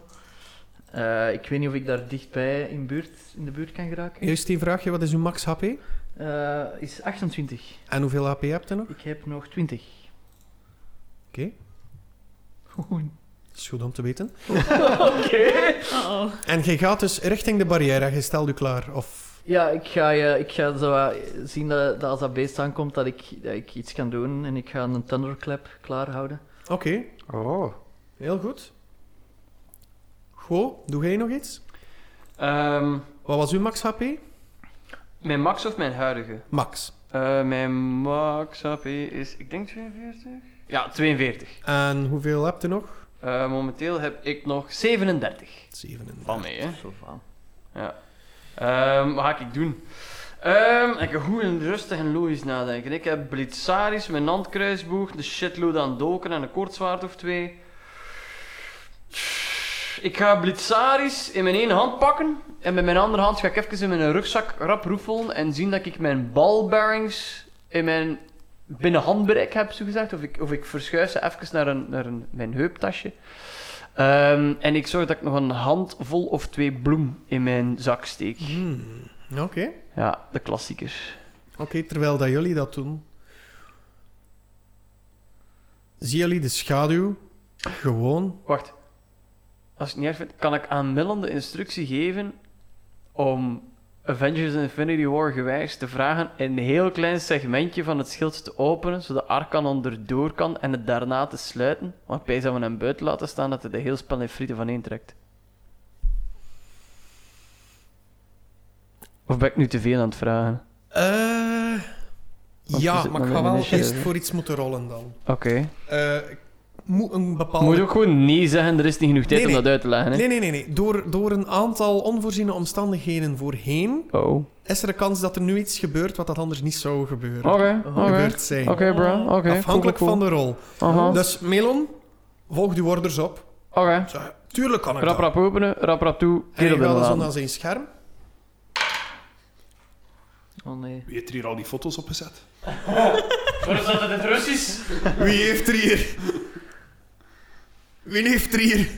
Speaker 6: Eh, ik weet niet of ik daar dichtbij in, buurt, in de buurt kan geraken.
Speaker 2: Eerst die vraagje, wat is uw max HP?
Speaker 6: Eh, is 28.
Speaker 2: En hoeveel HP hebt u nog?
Speaker 6: Ik heb nog 20.
Speaker 2: Oké. Is goed om te weten.
Speaker 4: Oh, oh.
Speaker 2: En jij gaat dus richting de barrière. Jij stelt u klaar. Of...
Speaker 6: Ja, ik ga, je, ik ga zo wat zien dat, dat als dat beest aankomt, dat ik, dat ik iets kan doen. En ik ga een thunderclap klaarhouden.
Speaker 2: Oké,
Speaker 1: Oh.
Speaker 2: heel goed. Goh, doe jij nog iets?
Speaker 3: Ehm,
Speaker 2: Wat was uw max HP?
Speaker 3: mijn max of mijn huidige?
Speaker 2: Max.
Speaker 3: Eh, mijn max HP is, ik denk 42? Ja, 42.
Speaker 2: En hoeveel hebt u nog?
Speaker 3: Eh, momenteel heb ik nog 37.
Speaker 2: 37.
Speaker 3: Van mee, hè.
Speaker 6: Zo van.
Speaker 3: Ehm, wat ga ik doen? Ehm, ik ga goed en rustig en logisch nadenken. Ik heb Blitzaris, mijn handkruisboog, de shitload aan doken en een koordzwaard of twee. Ik ga Blitzaris in mijn ene hand pakken en met mijn andere hand ga ik even in mijn rugzak rap roefelen en zien dat ik mijn balbearings in mijn binnenhandbereik heb, zogezegd. Of ik, of ik verschuif ze even naar, een, naar een, mijn heuptasje. Ehm, en ik zorg dat ik nog een handvol of twee bloem in mijn zak steek.
Speaker 2: Hmm, Oké.
Speaker 3: Ja, de klassiekers.
Speaker 2: Oké, terwijl dat jullie dat doen, zien jullie de schaduw gewoon.
Speaker 3: Wacht. Als ik het niet erg vind, kan ik aan Millen de instructie geven om Avengers Infinity War gewijs te vragen een heel klein segmentje van het schild te openen, zodat Arcanon erdoor kan en het daarna te sluiten. Want bij zouden we hem buiten laten staan dat hij de heel spel in frieten van één trekt. Of ben ik nu te veel aan het vragen?
Speaker 2: Eh,
Speaker 3: Want we
Speaker 2: ja,
Speaker 3: zitten
Speaker 2: maar ik
Speaker 3: nog
Speaker 2: ga
Speaker 3: in
Speaker 2: wel
Speaker 3: initiative,
Speaker 2: eerst
Speaker 3: hè?
Speaker 2: voor iets moeten rollen dan.
Speaker 3: Oké.
Speaker 2: Eh, ik moet een bepaalde.
Speaker 3: Moet je ook gewoon nee zeggen, er is niet genoeg tijd
Speaker 2: Nee, nee.
Speaker 3: om dat uit te leggen. Hè?
Speaker 2: Nee, nee, nee. nee. Door, door een aantal onvoorziene omstandigheden voorheen
Speaker 3: Oh. Oké,
Speaker 2: is er een kans dat er nu iets gebeurt wat dat anders niet zou gebeuren.
Speaker 3: oké.
Speaker 2: Gebeurd zijn.
Speaker 3: Oké, bro. Oké. cool,
Speaker 2: Oh, Afhankelijk
Speaker 3: cool,
Speaker 2: van
Speaker 3: cool.
Speaker 2: de rol.
Speaker 3: Aha.
Speaker 2: Dus Melon, volg uw orders op.
Speaker 3: Oké.
Speaker 2: Zeg, Tuurlijk kan ik
Speaker 3: Rap,
Speaker 2: Oh, dat.
Speaker 3: rap openen, rap, rap toe.
Speaker 2: En
Speaker 3: Keer
Speaker 2: je
Speaker 3: op de
Speaker 2: gaat zo
Speaker 3: laan.
Speaker 2: naar zijn scherm.
Speaker 6: Oh nee.
Speaker 5: Wie heeft er hier al die foto's opgezet?
Speaker 3: Waar is dat in het Russisch?
Speaker 2: Wie heeft er hier? Wie heeft er hier?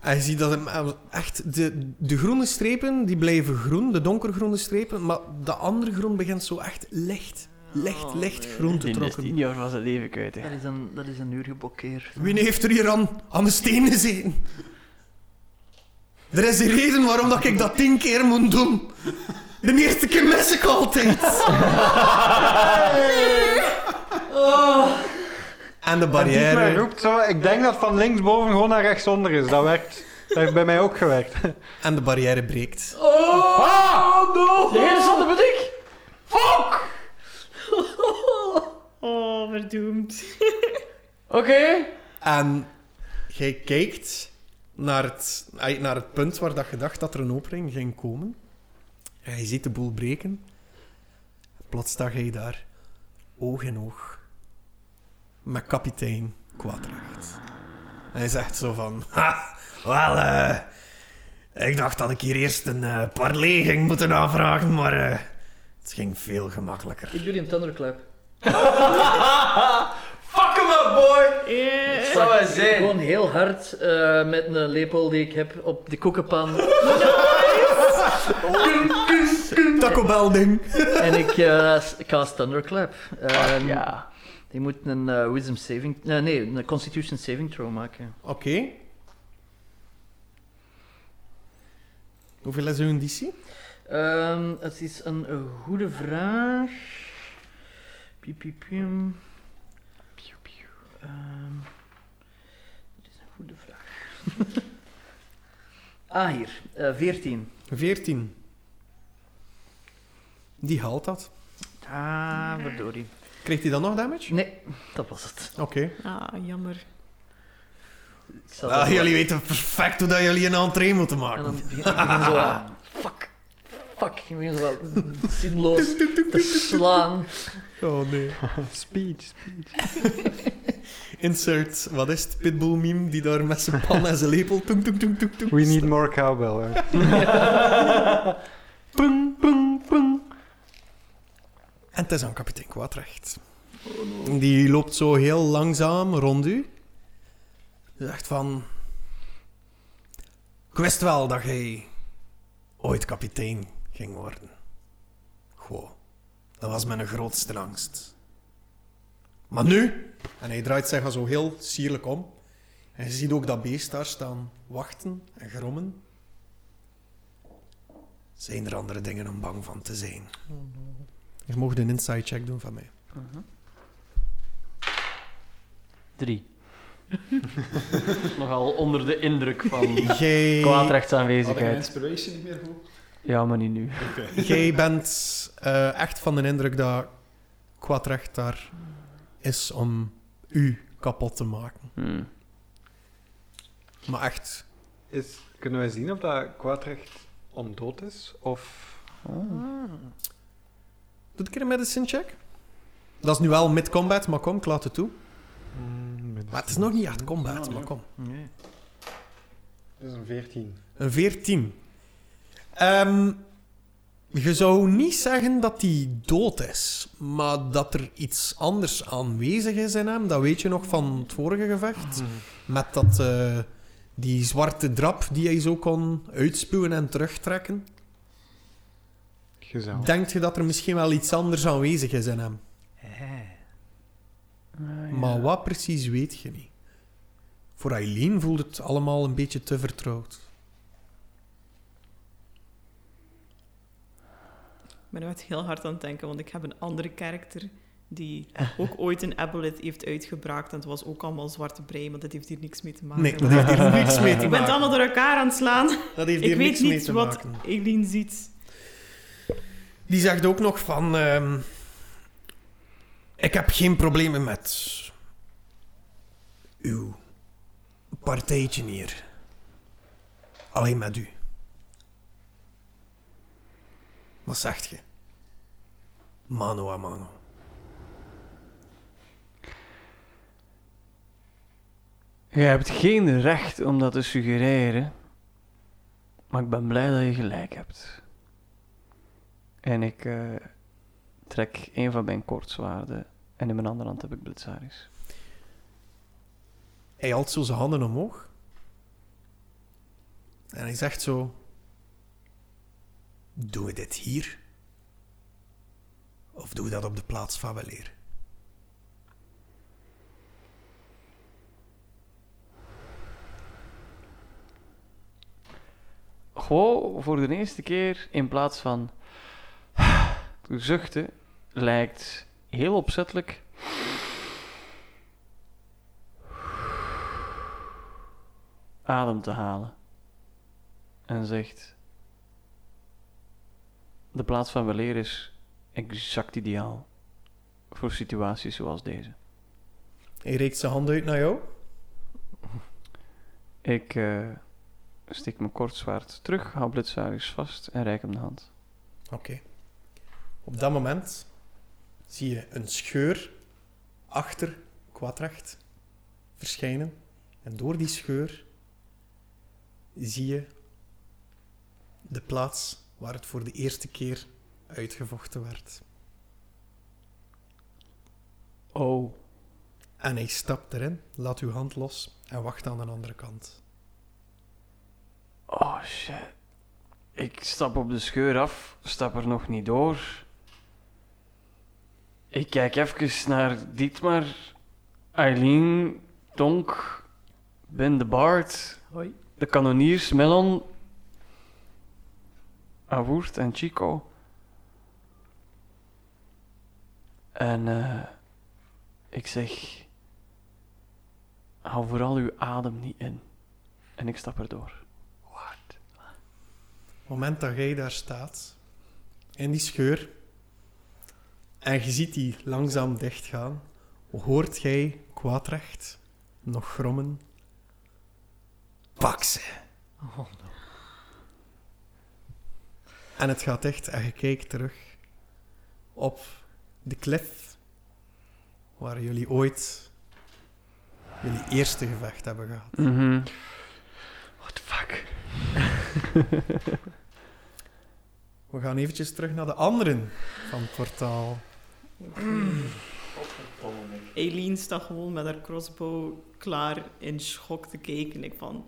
Speaker 2: En je ziet dat hem eh, echt de, de groene strepen die blijven groen, de donkergroene strepen, maar de andere groen begint zo echt licht, licht, licht groen te
Speaker 3: Die is
Speaker 2: trokken.
Speaker 3: tien jaar van zijn leven kwijt. hè.
Speaker 6: Dat is een, dat is een uur geblokkeerd.
Speaker 2: Wie heeft er hier aan, aan mijn stenen gezeten? Er is een reden waarom dat ik dat tien keer moet doen. De eerste keer mis ik altijd.
Speaker 1: En
Speaker 2: En de
Speaker 1: Dietmar
Speaker 2: barrière.
Speaker 1: roept zo, ik denk dat van linksboven gewoon naar rechtsonder is. Dat werkt. Dat heeft bij mij ook gewerkt.
Speaker 2: En de barrière breekt.
Speaker 6: Oh, no!
Speaker 3: De Ah, hele zonde ben ik! Fuck!
Speaker 4: Oh, verdoemd.
Speaker 3: Oké.
Speaker 2: En jij kijkt naar het, ai, naar het punt waar dat je dacht dat er een opening ging komen. En je ziet de boel breken. Plots sta jij daar, oog in oog, met kapitein Quadracht. En hij zegt zo van... Ha, wel, eh, ik dacht dat ik hier eerst een eh parley ging moeten aanvragen, maar eh, het ging veel gemakkelijker.
Speaker 6: Ik doe die een thunderclap.
Speaker 3: Fuck hem up, boy!
Speaker 4: Eh,
Speaker 3: Dat zou hij zijn.
Speaker 6: Gewoon heel hard eh, met een lepel die ik heb op de koekenpan.
Speaker 2: Taco Bell ding.
Speaker 6: en ik eh, s- cast thunderclap. Eh,
Speaker 3: Ja.
Speaker 6: Die moet een eh, wisdom saving... eh, nee, een constitution saving throw maken.
Speaker 2: Oké. Hoeveel is hun DC?
Speaker 6: Ehm, het is een eh, goede vraag. Piep, piep, pium. Ehm, het is een goede vraag. ah, hier. Eh 14.
Speaker 2: 14. Die haalt dat.
Speaker 6: Ah, verdorie.
Speaker 2: Krijgt hij dan nog damage?
Speaker 6: Nee, dat was het.
Speaker 2: Oké. Ah,
Speaker 4: ah, jammer.
Speaker 6: Ik zal
Speaker 3: Ah,
Speaker 6: dat-
Speaker 2: jullie weten perfect hoe dat jullie een entree moeten
Speaker 6: En
Speaker 2: maken.
Speaker 6: dan begin ik begin zo aan. Fuck. Fuck. Ik begin zo wel zinloos te slaan.
Speaker 2: Oh nee.
Speaker 1: Speed.
Speaker 2: Insert, wat is het? Pitbull meme die daar met zijn pan en zijn lepel... Toem, toem, toem, toem, toem.
Speaker 1: We need more cowbell. hè.
Speaker 3: Pung, pung, pung.
Speaker 2: En het is aan kapitein Kwaadrecht. Die loopt zo heel langzaam rond u. Die zegt van... Ik wist wel dat jij ooit kapitein ging worden. Goh, dat was mijn grootste angst. Maar nu... En hij draait zich al zo heel sierlijk om. En je ziet ook dat beest daar staan wachten en grommen. Zijn er andere dingen om bang van te zijn? Mm-hmm. Je mag een inside check doen van mij.
Speaker 3: Drie. Nogal onder de indruk van
Speaker 2: Jij,
Speaker 3: kwaadrechts
Speaker 5: Had ik een
Speaker 3: aanwezigheid.
Speaker 5: inspiration niet meer goed?
Speaker 3: Ja, maar niet nu.
Speaker 2: jij bent eh, echt van de indruk dat Quadrecht daar is om u kapot te maken.
Speaker 3: Hmm.
Speaker 2: Maar echt,
Speaker 1: Is, kunnen wij zien of dat Kwaadrecht ondood is? Of...
Speaker 2: doe ik een medicine check? Dat is nu wel mid-combat, maar kom, ik laat het toe.
Speaker 1: Mm, met-
Speaker 2: Maar het is nog niet echt combat,
Speaker 5: Ja,
Speaker 2: maar
Speaker 5: ja.
Speaker 2: kom.
Speaker 6: Nee.
Speaker 1: Dat is een 14.
Speaker 2: Een 14. Ehm, je zou niet zeggen dat hij dood is, maar dat er iets anders aanwezig is in hem, dat weet je nog van het vorige gevecht. Met dat, eh, die zwarte drap die hij zo kon uitspuwen en terugtrekken.
Speaker 1: Gezellig.
Speaker 2: Denkt je dat er misschien wel iets anders aanwezig is in hem?
Speaker 4: Eh. Ah,
Speaker 2: Maar wat precies weet je niet. Voor Eileen voelt het allemaal een beetje te vertrouwd.
Speaker 4: Ik ben nu echt heel hard aan het denken, want ik heb een andere karakter die ook ooit een Abelet heeft uitgebraakt. En het was ook allemaal zwarte brei, maar dat heeft hier niks mee te maken.
Speaker 2: Nee, dat heeft hier niks mee te
Speaker 4: ik ben het
Speaker 2: maken.
Speaker 4: allemaal door elkaar aan het slaan.
Speaker 2: Dat heeft
Speaker 4: Ik
Speaker 2: hier
Speaker 4: weet
Speaker 2: niks mee
Speaker 4: niet
Speaker 2: te
Speaker 4: wat
Speaker 2: maken.
Speaker 4: Eileen ziet.
Speaker 2: Die zegt ook nog van... ehm, ik heb geen problemen met... uw partijtje hier. Alleen met u. Wat zegt je? Mano a mano.
Speaker 3: Je hebt geen recht om dat te suggereren. Maar ik ben blij dat je gelijk hebt. En ik eh, Trek één van mijn kortzwaarden en in mijn andere hand heb ik blitzaris.
Speaker 2: Hij haalt zo zijn handen omhoog. En hij zegt zo... Doen we dit hier? Of doen we dat op de plaats van weleer?
Speaker 3: Gewoon voor de eerste keer in plaats van zuchten lijkt heel opzettelijk adem te halen en zegt de plaats van weleer is exact ideaal voor situaties zoals deze.
Speaker 2: Hij reikt zijn handen uit naar jou.
Speaker 3: Ik eh steek mijn kortzwaard terug, hou Blitzaris vast en reik hem de hand.
Speaker 2: Op dat moment zie je een scheur achter Quadracht verschijnen. En door die scheur zie je de plaats waar het voor de eerste keer uitgevochten werd.
Speaker 3: Oh.
Speaker 2: En hij stapt erin, laat uw hand los en wacht aan de andere kant.
Speaker 3: Oh shit. Ik stap op de scheur af, stap er nog niet door. Ik kijk even naar Dietmar, Eileen, Tonk, Ben de Bard,
Speaker 6: Hoi.
Speaker 3: de kanoniers, Melon, Awoert en Chico. En eh, ik zeg, hou vooral uw adem niet in. En ik stap erdoor.
Speaker 2: Op het moment dat jij daar staat, in die scheur, en je ziet die langzaam dichtgaan, hoort jij kwaadrecht nog grommen. Pak ze! En het gaat dicht en je kijkt terug op de klif waar jullie ooit jullie eerste gevecht hebben gehad.
Speaker 3: Mhm. What the fuck?
Speaker 2: We gaan eventjes terug naar de anderen van het portaal.
Speaker 4: Eileen staat gewoon met haar crossbow klaar in schok te kijken. Ik van, oh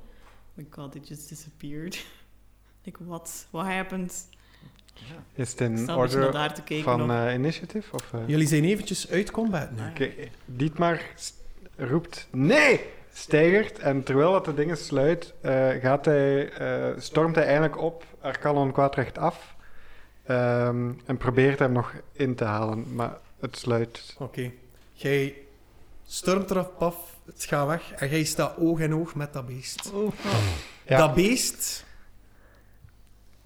Speaker 4: my god, it just disappeared. Like, what? What happened?
Speaker 1: Is het
Speaker 4: Ik
Speaker 1: in
Speaker 4: sta een beetje naar
Speaker 1: Mm, order
Speaker 4: daar te kijken.
Speaker 1: van
Speaker 4: nog.
Speaker 1: eh initiative? Of, eh?
Speaker 2: Jullie zijn eventjes uit combat nu.
Speaker 1: Oké, Dietmar st- roept nee, stijgert en terwijl dat de dingen sluit, eh, gaat hij, eh, stormt hij eindelijk op Arcanon kwaadrecht af ehm, en probeert hem nog in te halen, maar het sluit.
Speaker 2: Oké. Jij stormt erop af, het gaat weg en jij staat oog in oog met dat beest.
Speaker 1: Ja.
Speaker 2: Dat beest.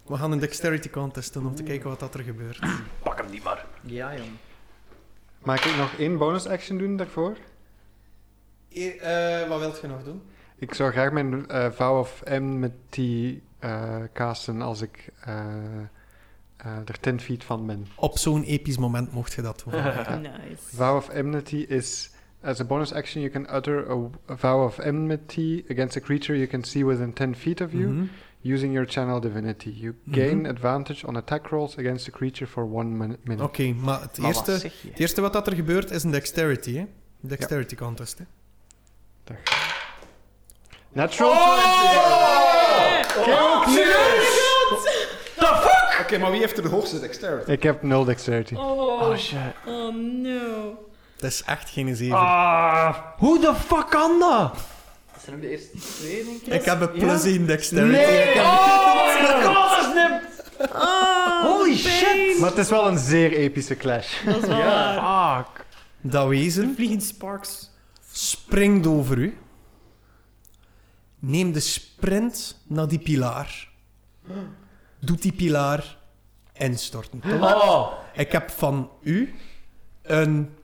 Speaker 2: We gaan een dexterity contest doen om te kijken wat dat er gebeurt.
Speaker 3: Pak hem niet maar.
Speaker 6: Ja, jong.
Speaker 1: Maak ik nog één bonus action doen daarvoor?
Speaker 2: eh, wat wilt je nog doen?
Speaker 1: Ik zou graag mijn eh vouw of M met die eh, casten als ik eh, eh, er 10 feet van ben.
Speaker 2: Op zo'n episch moment mocht je dat doen.
Speaker 1: eh,
Speaker 4: Nice.
Speaker 1: Vow of enmity is as a bonus action you can utter a, a vow of enmity against a creature you can see within 10 feet of you
Speaker 2: Mhm.
Speaker 1: using your channel divinity. You gain
Speaker 2: Mhm.
Speaker 1: advantage on attack rolls against a creature for one min- minute.
Speaker 2: Oké, maar het
Speaker 3: Maar wat
Speaker 2: eerste,
Speaker 3: zeg je?
Speaker 2: het eerste wat dat er gebeurt is een dexterity. Hè? Een Dexterity contest. Hè?
Speaker 1: Natural
Speaker 4: Oh!
Speaker 5: Oké, maar wie heeft er de hoogste dexterity?
Speaker 1: 20! Ik heb 0 dexterity.
Speaker 3: Oh
Speaker 4: Oh,
Speaker 3: shit.
Speaker 4: oh no.
Speaker 2: Dat is echt geen zeven.
Speaker 3: Ah, hoe de fuck kan dat?
Speaker 6: Dat zijn ook de eerste twee, denk ik.
Speaker 2: Ik heb een plus één dexterity. Ik heb-
Speaker 3: Oh my god, snip.
Speaker 2: Ah,
Speaker 4: Oh,
Speaker 3: Holy
Speaker 4: pijn.
Speaker 3: shit.
Speaker 1: Maar het is wel een zeer epische clash.
Speaker 4: Dat is wel waar.
Speaker 3: Fuck.
Speaker 2: Dat wezen
Speaker 4: Vliegend sparks.
Speaker 2: springt over u. Neem de sprint naar die pilaar. Doet die pilaar instorten.
Speaker 3: Oh.
Speaker 2: Ik heb van u een.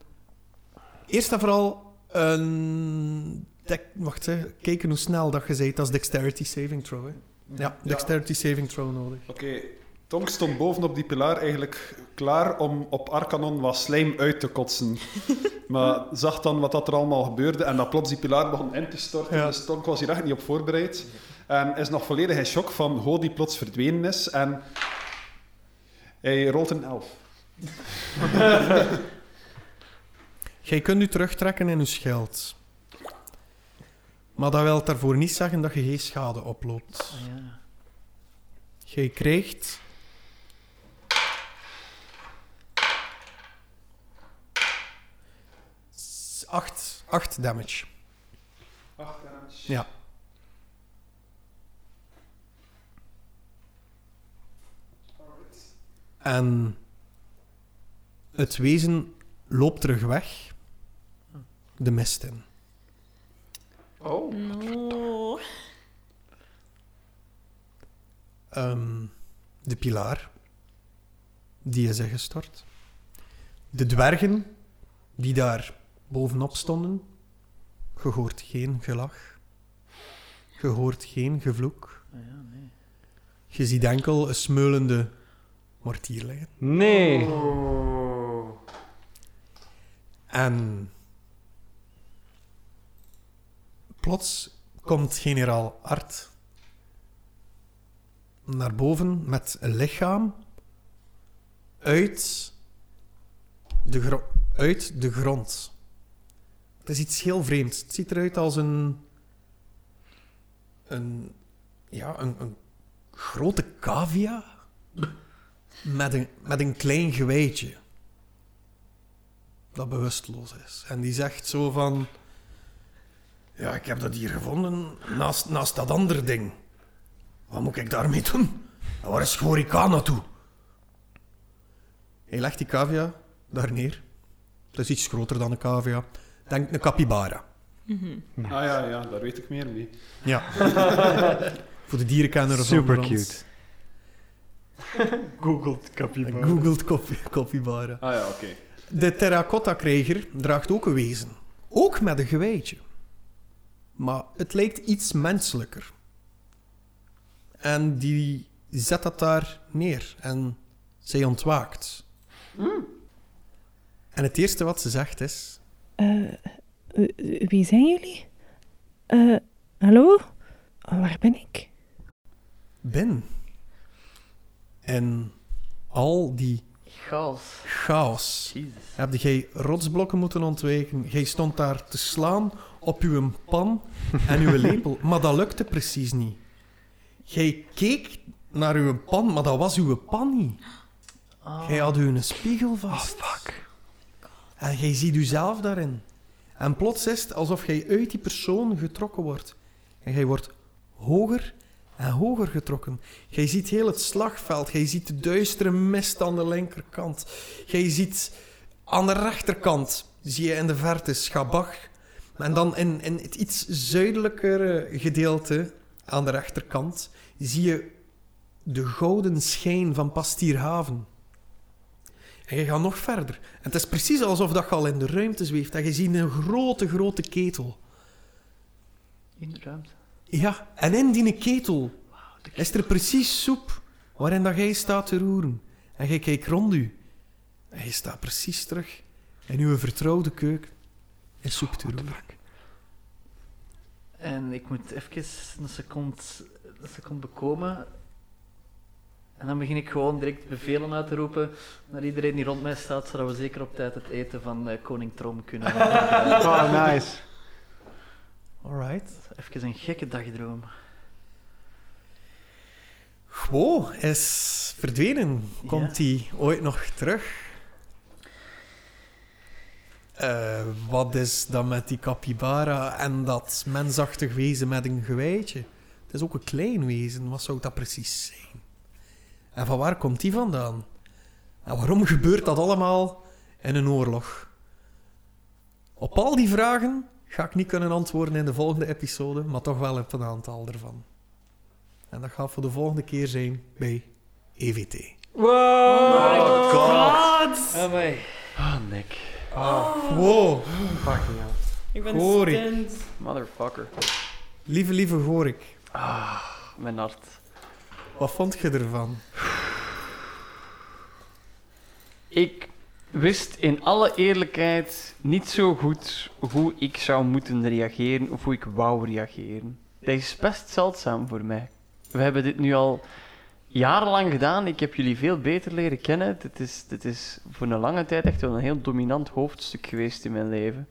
Speaker 2: Eerst en vooral een. dec- Wacht, hè. kijken hoe snel dat je zei. Dat is Dexterity Saving Throw. Hè. Ja, Dexterity Saving Throw nodig.
Speaker 5: Oké, Tonk stond bovenop die pilaar eigenlijk klaar om op Arcanon wat slijm uit te kotsen. Maar zag dan wat dat er allemaal gebeurde en dat plots die pilaar begon in te storten.
Speaker 2: Ja.
Speaker 5: Dus Tonk was hier echt niet op voorbereid. En is nog volledig in shock van hoe die plots verdwenen is. En hij rolt een elf.
Speaker 2: Jij kunt u terugtrekken in uw schild. Maar dat wil daarvoor niet zeggen dat je geen schade oploopt.
Speaker 6: Ja.
Speaker 2: Jij krijgt. S- Acht, acht damage.
Speaker 5: Acht damage.
Speaker 2: Ja. En het wezen loopt terug weg, de mist in.
Speaker 3: Oh.
Speaker 4: No.
Speaker 2: Ehm, de pilaar, die is ingestort. De dwergen, die daar bovenop stonden. Je hoort geen gelach. Je hoort geen gevloek.
Speaker 6: Ah Ja, nee.
Speaker 2: Je ziet enkel een smeulende mortier liggen.
Speaker 1: Nee.
Speaker 3: Oh.
Speaker 2: En plots komt generaal Art naar boven met een lichaam uit de, gro- uit de grond. Het is iets heel vreemds. Het ziet eruit als een, een, ja, een, een grote cavia met een, met een klein gewijtje dat bewusteloos is. En die zegt zo van... Ja, ik heb dat hier gevonden naast, naast dat andere ding. Wat moet ik daarmee doen? En waar is Gorica naartoe? Hij legt die cavia daar neer. Het is iets groter dan een cavia. Denk een capybara.
Speaker 5: Ah ja, ja, daar weet ik meer mee.
Speaker 2: Ja. Voor de dierenkenner van
Speaker 1: Super
Speaker 2: ons.
Speaker 1: cute. Googled capybara.
Speaker 2: Googled copy- capybara.
Speaker 5: Ah ja, oké.
Speaker 2: De terracotta-krijger draagt ook een wezen. Ook met een gewijtje. Maar het lijkt iets menselijker. En die zet dat daar neer. En zij ontwaakt. En het eerste wat ze zegt is...
Speaker 7: Eh, w- wie zijn jullie? Eh, hallo? Oh, Waar ben ik?
Speaker 2: Ben. En al die
Speaker 6: Chaos.
Speaker 2: chaos...
Speaker 6: Jezus.
Speaker 2: Heb jij rotsblokken moeten ontwijken? Jij stond daar te slaan op uw pan en uw lepel, maar dat lukte precies niet. Jij keek naar uw pan, maar dat was uw pan niet.
Speaker 6: Ah.
Speaker 2: Jij had uw spiegel vast. En jij ziet uzelf daarin. En plots is het alsof jij uit die persoon getrokken wordt. En jij wordt hoger en hoger getrokken. Jij ziet heel het slagveld. Jij ziet de duistere mist aan de linkerkant. Jij ziet aan de rechterkant, zie je in de verte, Schabach. En dan in, in het iets zuidelijkere gedeelte, aan de rechterkant, zie je de gouden schijn van Pastierhaven. En je gaat nog verder. En het is precies alsof dat je al in de ruimte zweeft. En je ziet een grote, grote ketel.
Speaker 6: In de ruimte.
Speaker 2: Ja, en in die ketel is er precies soep waarin dat jij staat te roeren. En jij kijkt rond u. En je staat precies terug in uw vertrouwde keuken en soep te roeren.
Speaker 6: En ik moet even een seconde, een seconde bekomen. En dan begin ik gewoon direct bevelen uit te roepen naar iedereen die rond mij staat, zodat we zeker op tijd het eten van eh, Koning Trom kunnen.
Speaker 1: Oh, nice.
Speaker 2: Alright.
Speaker 6: even een gekke dagdroom.
Speaker 2: Gwo is verdwenen. Komt
Speaker 6: Ja.
Speaker 2: die ooit nog terug? Eh, wat is dan met die capybara en dat mensachtig wezen met een gewijtje? Het is ook een klein wezen. Wat zou dat precies zijn? En van waar komt die vandaan? En waarom gebeurt dat allemaal in een oorlog? Op al die vragen ga ik niet kunnen antwoorden in de volgende episode, maar toch wel op een aantal ervan. En dat gaat voor de volgende keer zijn bij E EVT.
Speaker 3: Wow.
Speaker 4: God.
Speaker 6: Amai.
Speaker 3: Ah, Nick.
Speaker 2: Wow,
Speaker 1: Fucking hell.
Speaker 4: Ik ben
Speaker 2: Gorie.
Speaker 4: stunned.
Speaker 3: Motherfucker.
Speaker 2: lieve, lieve Gorik,
Speaker 3: Mijn hart.
Speaker 2: wat vond je ervan?
Speaker 3: Ik wist in alle eerlijkheid niet zo goed hoe ik zou moeten reageren of hoe ik wou reageren. Dat is best zeldzaam voor mij. We hebben dit nu al jarenlang gedaan. Ik heb jullie veel beter leren kennen. Dit is, dit is voor een lange tijd echt wel een heel dominant hoofdstuk geweest in mijn leven.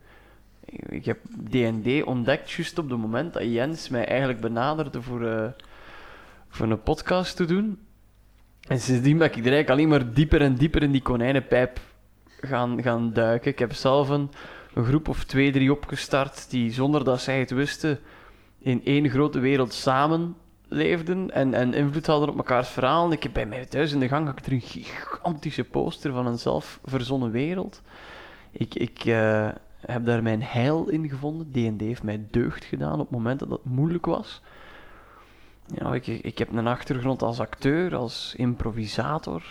Speaker 3: Ik, ik heb D&D ontdekt juist op het moment dat Jens mij eigenlijk benaderde voor, eh, voor een podcast te doen. En sindsdien ben ik er eigenlijk alleen maar dieper en dieper in die konijnenpijp gaan, gaan duiken. Ik heb zelf een, een groep of twee, drie opgestart die zonder dat zij het wisten in één grote wereld samen leefden en, en invloed hadden op mekaars verhalen. Ik heb bij mij thuis in de gang had ik er een gigantische poster van een zelfverzonnen wereld. Ik, ik eh, heb daar mijn heil in gevonden. D&D heeft mij deugd gedaan op het moment dat dat moeilijk was. Ja, ik, ik heb een achtergrond als acteur, als improvisator.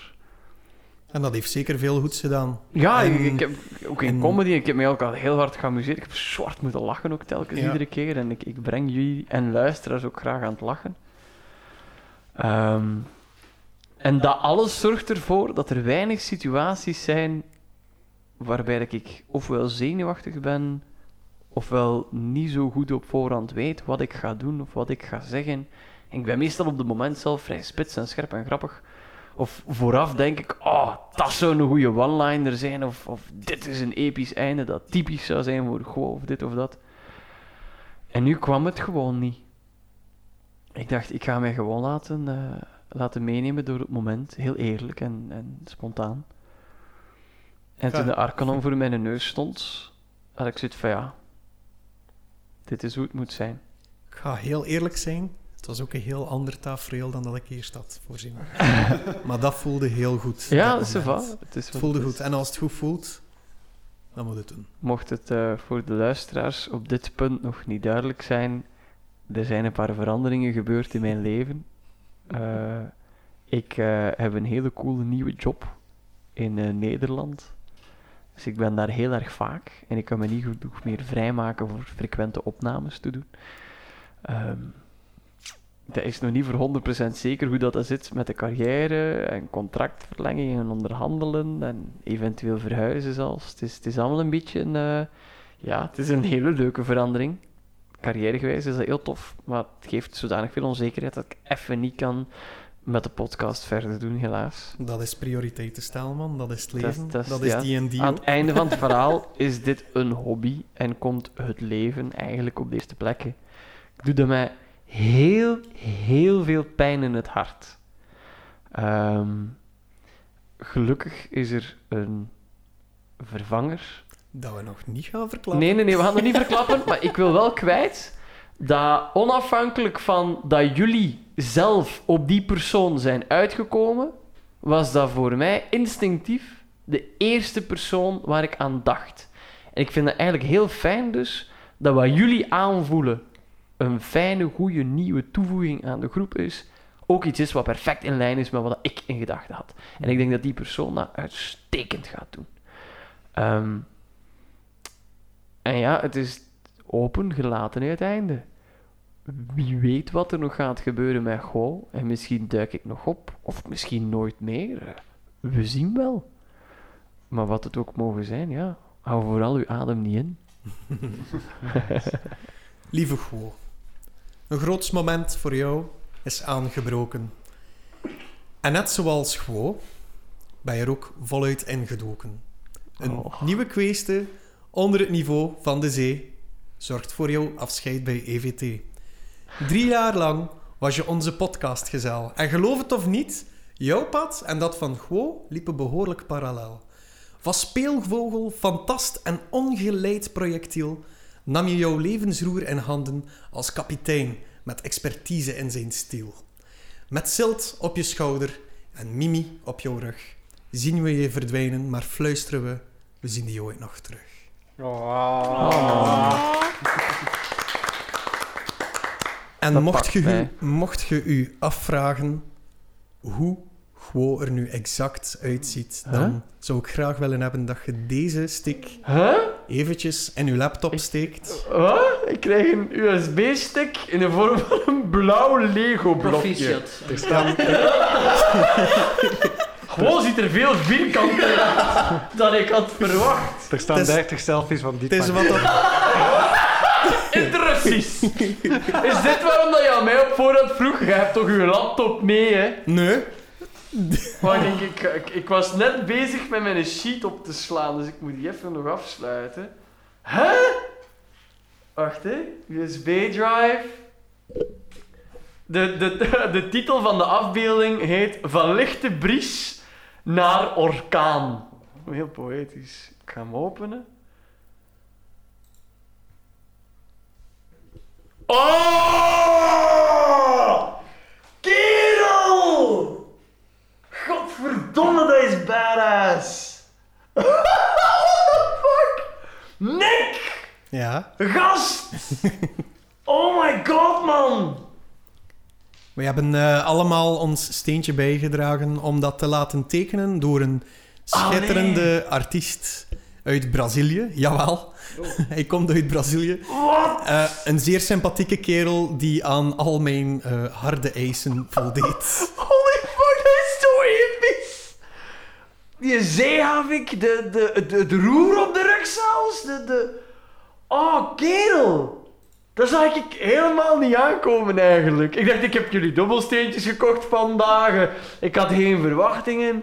Speaker 2: En dat heeft zeker veel goeds gedaan.
Speaker 3: Ja,
Speaker 2: En-
Speaker 3: ik, ik heb ook in
Speaker 2: en-
Speaker 3: comedy, ik heb me ook al heel hard geamuseerd. Ik heb zwart moeten lachen ook telkens,
Speaker 2: Ja.
Speaker 3: iedere keer. En ik, ik breng jullie en luisteraars ook graag aan het lachen. Ehm, en dat alles zorgt ervoor dat er weinig situaties zijn waarbij dat ik ofwel zenuwachtig ben, ofwel niet zo goed op voorhand weet wat ik ga doen of wat ik ga zeggen. En ik ben meestal op het moment zelf vrij spits en scherp en grappig. Of vooraf denk ik, oh, dat zou een goede one-liner zijn. Of, of dit is een episch einde dat typisch zou zijn voor Goh, of dit of dat. En nu kwam het gewoon niet. Ik dacht, ik ga mij gewoon laten, eh, laten meenemen door het moment. Heel eerlijk en, en spontaan. En toen
Speaker 2: Ja.
Speaker 3: de Arcanon voor mijn neus stond, had ik zoiets van, ja, dit is hoe het moet zijn.
Speaker 2: Ik ga heel eerlijk zijn. Het was ook een heel ander tafereel dan dat ik eerst had voorzien. maar dat voelde heel goed.
Speaker 3: Ja,
Speaker 2: dat
Speaker 3: c'est va.
Speaker 2: moment.
Speaker 3: Het is
Speaker 2: Het
Speaker 3: wat
Speaker 2: voelde
Speaker 3: het is.
Speaker 2: goed. En als het goed voelt, dan moet het doen.
Speaker 3: Mocht het eh, voor de luisteraars op dit punt nog niet duidelijk zijn, er zijn een paar veranderingen gebeurd in mijn leven. Eh, ik eh, heb een hele coole nieuwe job in eh, Nederland. Dus ik ben daar heel erg vaak en ik kan me niet genoeg meer vrijmaken voor frequente opnames te doen. Ehm, dat is nog niet voor 100% zeker hoe dat, dat zit met de carrière en contractverlenging en onderhandelen en eventueel verhuizen zelfs. Het is, het is allemaal een beetje een, eh, ja, het is een hele leuke verandering. Carrièregewijs is dat heel tof, maar het geeft zodanig veel onzekerheid dat ik even niet kan met de podcast verder doen, helaas.
Speaker 2: Dat is prioriteiten stellen, man. Dat is het
Speaker 3: Dat is-
Speaker 2: leven. Dat
Speaker 3: dat
Speaker 2: is,
Speaker 3: is-
Speaker 2: die die
Speaker 3: Aan het einde van het verhaal is dit een hobby en komt het leven eigenlijk op de eerste plekken. Ik doe dat mij heel, heel veel pijn in het hart. Ehm, gelukkig is er een vervanger.
Speaker 2: Dat we nog niet gaan verklappen.
Speaker 3: Nee, nee, nee, we gaan het niet verklappen, maar ik wil wel kwijt dat onafhankelijk van dat jullie zelf op die persoon zijn uitgekomen, was dat voor mij instinctief de eerste persoon waar ik aan dacht. En ik vind het eigenlijk heel fijn dus dat wat jullie aanvoelen een fijne, goede, nieuwe toevoeging aan de groep is, ook iets is wat perfect in lijn is met wat ik in gedachten had. En ik denk dat die persoon dat uitstekend gaat doen. Ehm, en ja, het is open gelaten uiteinde. Wie weet wat er nog gaat gebeuren met Go. En misschien duik ik nog op. Of misschien nooit meer. Eh, We zien wel. Maar wat het ook mogen zijn, ja. Hou vooral uw adem niet in.
Speaker 2: Lieve Goh, een groots moment voor jou is aangebroken. En net zoals Goh, ben je er ook voluit ingedoken. Een
Speaker 3: Oh.
Speaker 2: nieuwe kweeste onder het niveau van de zee zorgt voor jouw afscheid bij EVT. Drie jaar lang was je onze podcastgezel. En geloof het of niet, jouw pad en dat van Guo liepen behoorlijk parallel. Van speelvogel, fantast en ongeleid projectiel nam je jouw levensroer in handen als kapitein met expertise in zijn stiel. Met Silt op je schouder en Mimi op jouw rug zien we je verdwijnen, maar fluisteren we, we zien je ooit nog terug.
Speaker 1: Oh.
Speaker 2: En
Speaker 3: Dat
Speaker 2: mocht
Speaker 3: pakt
Speaker 2: je,
Speaker 3: mij.
Speaker 2: u, mocht je u afvragen hoe Guo er nu exact uitziet,
Speaker 3: Huh?
Speaker 2: dan zou ik graag willen hebben dat je deze stick
Speaker 3: Huh?
Speaker 2: eventjes in uw laptop steekt.
Speaker 3: Wat? Ik krijg een USB-stick in de vorm van een blauw Lego-blokje.
Speaker 6: Proficiat.
Speaker 2: Er staan,
Speaker 3: Gewoon ziet er veel vierkanter uit dan ik had verwacht.
Speaker 1: Er staan
Speaker 2: Het is-
Speaker 1: 30 selfies van
Speaker 2: het
Speaker 1: dit.
Speaker 2: is wat op,
Speaker 3: In het Russisch. Is dit waarom dat je aan mij op voorhand vroeg, jij hebt toch uw laptop mee, hè?
Speaker 2: Nee.
Speaker 3: Maar ik, denk, ik, ik, ik was net bezig met mijn sheet op te slaan, dus ik moet die even nog afsluiten. Hè? Wacht, hè. USB-drive. De, de, de titel van de afbeelding heet Van lichte bries naar orkaan. Heel poëtisch. Ik ga hem openen. Oh! Kerel! Godverdomme, dat is badass! What the fuck? Nick!
Speaker 2: Ja.
Speaker 3: Gast! Oh my god, man!
Speaker 2: We hebben eh, allemaal ons steentje bijgedragen om dat te laten tekenen door een
Speaker 3: Ah, nee.
Speaker 2: schitterende artiest uit Brazilië. Jawel, hij komt uit Brazilië.
Speaker 3: Oh. Wat?
Speaker 2: Eh, een zeer sympathieke kerel die aan al mijn eh, harde eisen voldeed.
Speaker 3: Holy fuck, dat is zo episch! Die zeehavik, de, de, de, het roer op de rug zelfs, de, de... Oh, kerel! Dat zag ik helemaal niet aankomen eigenlijk. Ik dacht, ik heb jullie dubbelsteentjes gekocht vandaag. Ik had geen verwachtingen.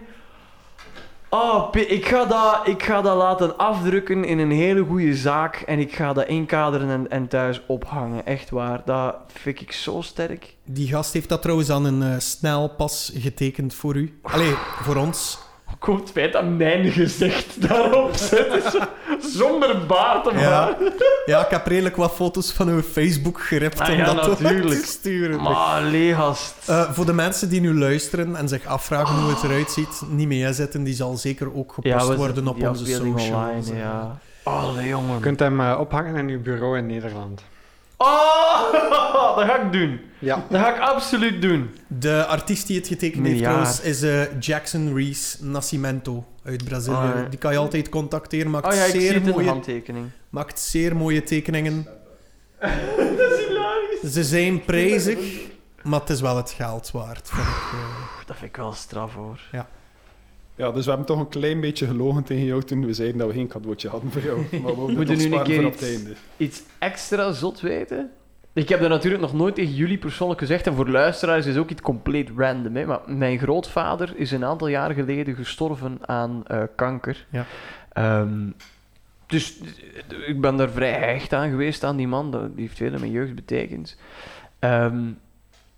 Speaker 3: Oh, P- ik ga, dat, ik ga dat laten afdrukken in een hele goede zaak. En ik ga dat inkaderen en, en thuis ophangen. Echt waar. Dat vind ik zo sterk.
Speaker 2: Die gast heeft dat trouwens aan een eh, snelpas getekend voor u. Allee, voor ons.
Speaker 3: Komt het feit dat mijn gezicht daarop zit, is zo- zonder baard of
Speaker 2: Ja.
Speaker 3: haar.
Speaker 2: Ja, ik heb redelijk wat foto's van uw Facebook geript
Speaker 3: Ah,
Speaker 2: om
Speaker 3: ja,
Speaker 2: dat door
Speaker 3: natuurlijk.
Speaker 2: te sturen.
Speaker 3: Maar leegast.
Speaker 2: Eh, voor de mensen die nu luisteren en zich afvragen hoe het eruit ziet, niet mee zitten. Die zal zeker ook gepost worden op onze socials.
Speaker 3: Online, ja. Alle jongen.
Speaker 1: Je kunt hem eh, ophangen in uw bureau in Nederland.
Speaker 3: Oh, dat ga ik doen.
Speaker 1: Ja.
Speaker 3: Dat ga ik absoluut doen.
Speaker 2: De artiest die het getekend
Speaker 3: Miljard.
Speaker 2: heeft trouwens is eh, Jackson Reese Nascimento uit Brazilië.
Speaker 3: Ah, ja.
Speaker 2: Die kan je altijd contacteren. Maakt,
Speaker 3: Oh ja, ik zie
Speaker 2: zeer
Speaker 3: het in de
Speaker 2: mooie,
Speaker 3: handtekening.
Speaker 2: maakt zeer mooie tekeningen.
Speaker 3: Dat is hilarisch.
Speaker 2: Ze zijn prijzig, maar het is wel het geld waard. vind ik, eh.
Speaker 3: Oeh, Dat vind ik wel straf, hoor.
Speaker 5: Ja, dus we hebben toch een klein beetje gelogen tegen jou toen we zeiden dat we geen cadeautje hadden voor jou. Maar we
Speaker 3: Moeten
Speaker 5: moeten
Speaker 3: nu
Speaker 5: het
Speaker 3: een
Speaker 5: sparen
Speaker 3: keer
Speaker 5: voor op het
Speaker 3: iets-
Speaker 5: einde.
Speaker 3: Iets extra zot weten? Ik heb dat natuurlijk nog nooit tegen jullie persoonlijk gezegd. En voor luisteraars is ook iets compleet random. Hè? Maar mijn grootvader is een aantal jaren geleden gestorven aan eh, kanker.
Speaker 2: Ja.
Speaker 3: Ehm, dus eh, ik ben daar vrij hecht aan geweest aan die man. Dat- Die heeft veel in mijn jeugd betekend. Ehm,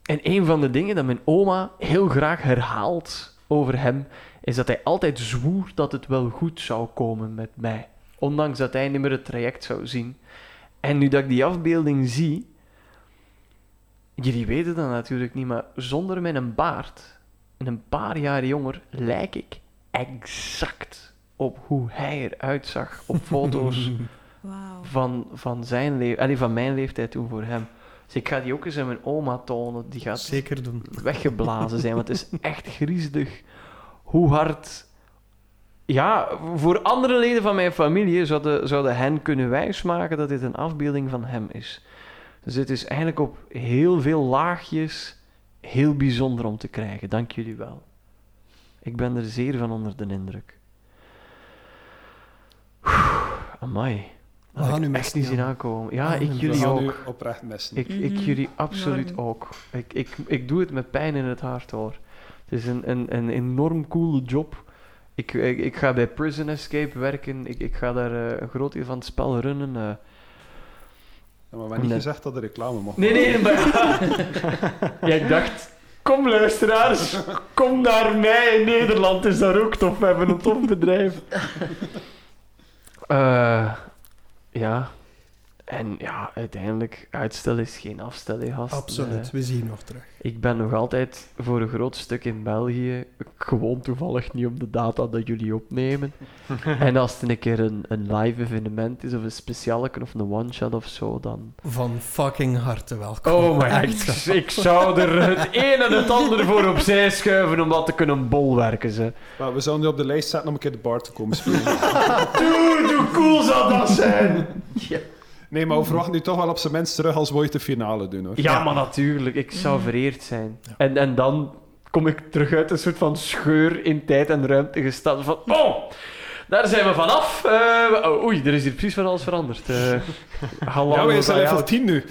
Speaker 3: en een van de dingen dat mijn oma heel graag herhaalt over hem, is dat hij altijd zwoer dat het wel goed zou komen met mij. Ondanks dat hij niet meer het traject zou zien. En nu dat ik die afbeelding zie, jullie weten dat natuurlijk niet, maar zonder mijn baard, en een paar jaar jonger, lijk ik exact op hoe hij eruit zag op foto's
Speaker 4: Wauw.
Speaker 3: van, van, zijn leef- allee, van mijn leeftijd toen voor hem. Dus ik ga die ook eens aan mijn oma tonen. Die gaat
Speaker 2: Zeker doen.
Speaker 3: weggeblazen zijn. Want het is echt griezelig hoe hard. Ja, voor andere leden van mijn familie zouden, zouden hen kunnen wijsmaken dat dit een afbeelding van hem is. Dus dit is eigenlijk op heel veel laagjes heel bijzonder om te krijgen. Dank jullie wel. Ik ben er zeer van onder de indruk. Oeh, amai.
Speaker 2: We gaan nu
Speaker 3: ik echt
Speaker 2: messen,
Speaker 3: niet zien
Speaker 2: Jan.
Speaker 3: aankomen. Ja,
Speaker 2: We
Speaker 3: ik
Speaker 2: gaan
Speaker 5: we
Speaker 3: jullie
Speaker 5: gaan
Speaker 3: ook.
Speaker 5: nu oprecht messen.
Speaker 3: Ik, ik
Speaker 4: Mhm,
Speaker 3: jullie absoluut
Speaker 4: enorm.
Speaker 3: ook. Ik, ik, ik doe het met pijn in het hart hoor. Het is een, een, een enorm coole job. Ik, ik, ik ga bij Prison Escape werken. Ik, ik ga daar eh, een groot deel van het spel runnen. eh.
Speaker 5: Maar we hebben niet
Speaker 3: Nee.
Speaker 5: gezegd dat de reclame mocht.
Speaker 3: Nee, nee, maar... ja, ik dacht... Kom luisteraars, kom naar mij in Nederland. Is daar ook tof, we hebben een tof bedrijf. Eh, ja. En ja, uiteindelijk, uitstel is geen afstel, hè, gast.
Speaker 2: Absoluut.
Speaker 3: Eh,
Speaker 2: We zien je nog terug.
Speaker 3: ik ben nog altijd voor een groot stuk in België. Gewoon toevallig niet op de data dat jullie opnemen. en als het een keer een, een live evenement is, of een speciale of een one-shot of zo, dan.
Speaker 2: Van fucking harte welkom.
Speaker 3: Oh my
Speaker 2: Echt
Speaker 3: god, ik zou er het een en het ander voor opzij schuiven om dat te kunnen bolwerken. Ze.
Speaker 5: Maar we zouden nu op de lijst zetten om een keer de bar te komen spelen.
Speaker 3: Dude, hoe cool zou dat zijn?
Speaker 5: nee, maar we verwachten nu toch wel op zijn minst terug als we ooit de finale doen hoor.
Speaker 3: Ja, maar natuurlijk. Ik zou vereerd zijn. En, en dan kom ik terug uit een soort van scheur in tijd en ruimte gesteld. Van, oh, daar zijn we vanaf. Eh, we- oh, oei, er is hier precies van alles veranderd. Eh,
Speaker 5: Ja,
Speaker 3: hallo,
Speaker 5: we zijn
Speaker 3: ja,
Speaker 5: level 10 nu.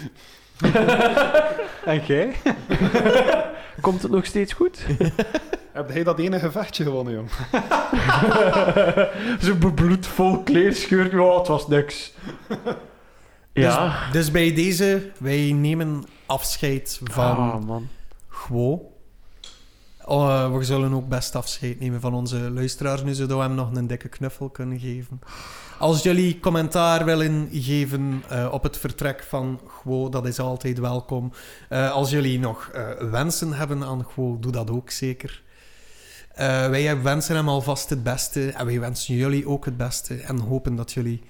Speaker 1: En jij?
Speaker 3: Komt het nog steeds goed?
Speaker 5: Heb jij dat enige vechtje gewonnen, jong?
Speaker 3: Ze bebloed vol kleerscheur. Ja, het was niks. Ja.
Speaker 2: Dus, dus bij deze, wij nemen afscheid van
Speaker 3: Ah, man.
Speaker 2: Gwo. Eh, we zullen ook best afscheid nemen van onze luisteraars, nu zodat we hem nog een dikke knuffel kunnen geven. Als jullie commentaar willen geven eh, op het vertrek van Gwo, dat is altijd welkom. Eh, als jullie nog eh, wensen hebben aan Gwo, doe dat ook zeker. Eh, wij wensen hem alvast het beste en wij wensen jullie ook het beste en hopen dat jullie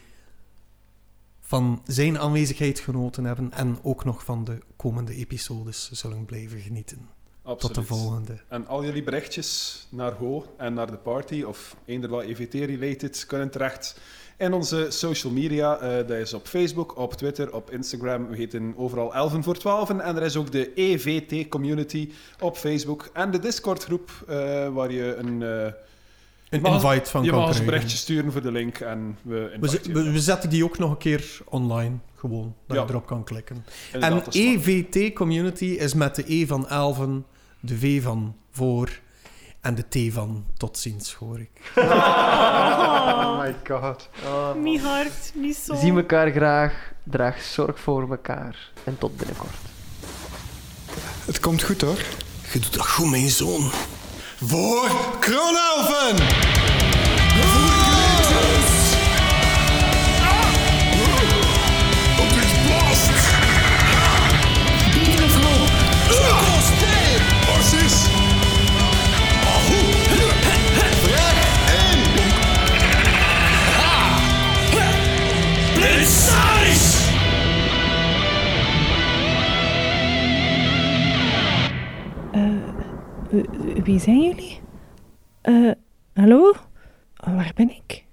Speaker 2: van zijn aanwezigheid genoten hebben en ook nog van de komende episodes zullen blijven genieten.
Speaker 5: Absoluut.
Speaker 2: Tot de volgende.
Speaker 5: En al jullie berichtjes naar Ho en naar de party, of eender wel E EVT-related, kunnen terecht in onze social media. Eh, dat is op Facebook, op Twitter, op Instagram. We heten overal Elven voor 12. En er is ook de E EVT-community op Facebook en de Discord-groep, eh, waar je een, eh,
Speaker 2: Een
Speaker 5: mag-
Speaker 2: invite van
Speaker 5: je
Speaker 2: kan
Speaker 5: mag ons
Speaker 2: krijgen.
Speaker 5: berichtje sturen voor de link. En we
Speaker 2: We,
Speaker 5: inviteren
Speaker 2: z- we, we zetten die ook nog een keer online, gewoon, dat
Speaker 5: Ja.
Speaker 2: je erop kan klikken. En E
Speaker 5: Inderdaad, dat is
Speaker 2: EVT-community is met de E van elven, de V van voor en de T van tot ziens, hoor ik.
Speaker 1: Oh my god.
Speaker 3: Ah, man.
Speaker 4: Mijn hart, mijn ziel.
Speaker 3: Zie elkaar graag. Draag zorg voor elkaar. En tot binnenkort.
Speaker 1: Het komt goed hoor.
Speaker 2: Je doet dat goed, mijn zoon. Voor Kronelven!
Speaker 7: eh, Wie zijn jullie? Eh, hallo? Eh, Oh, waar ben ik?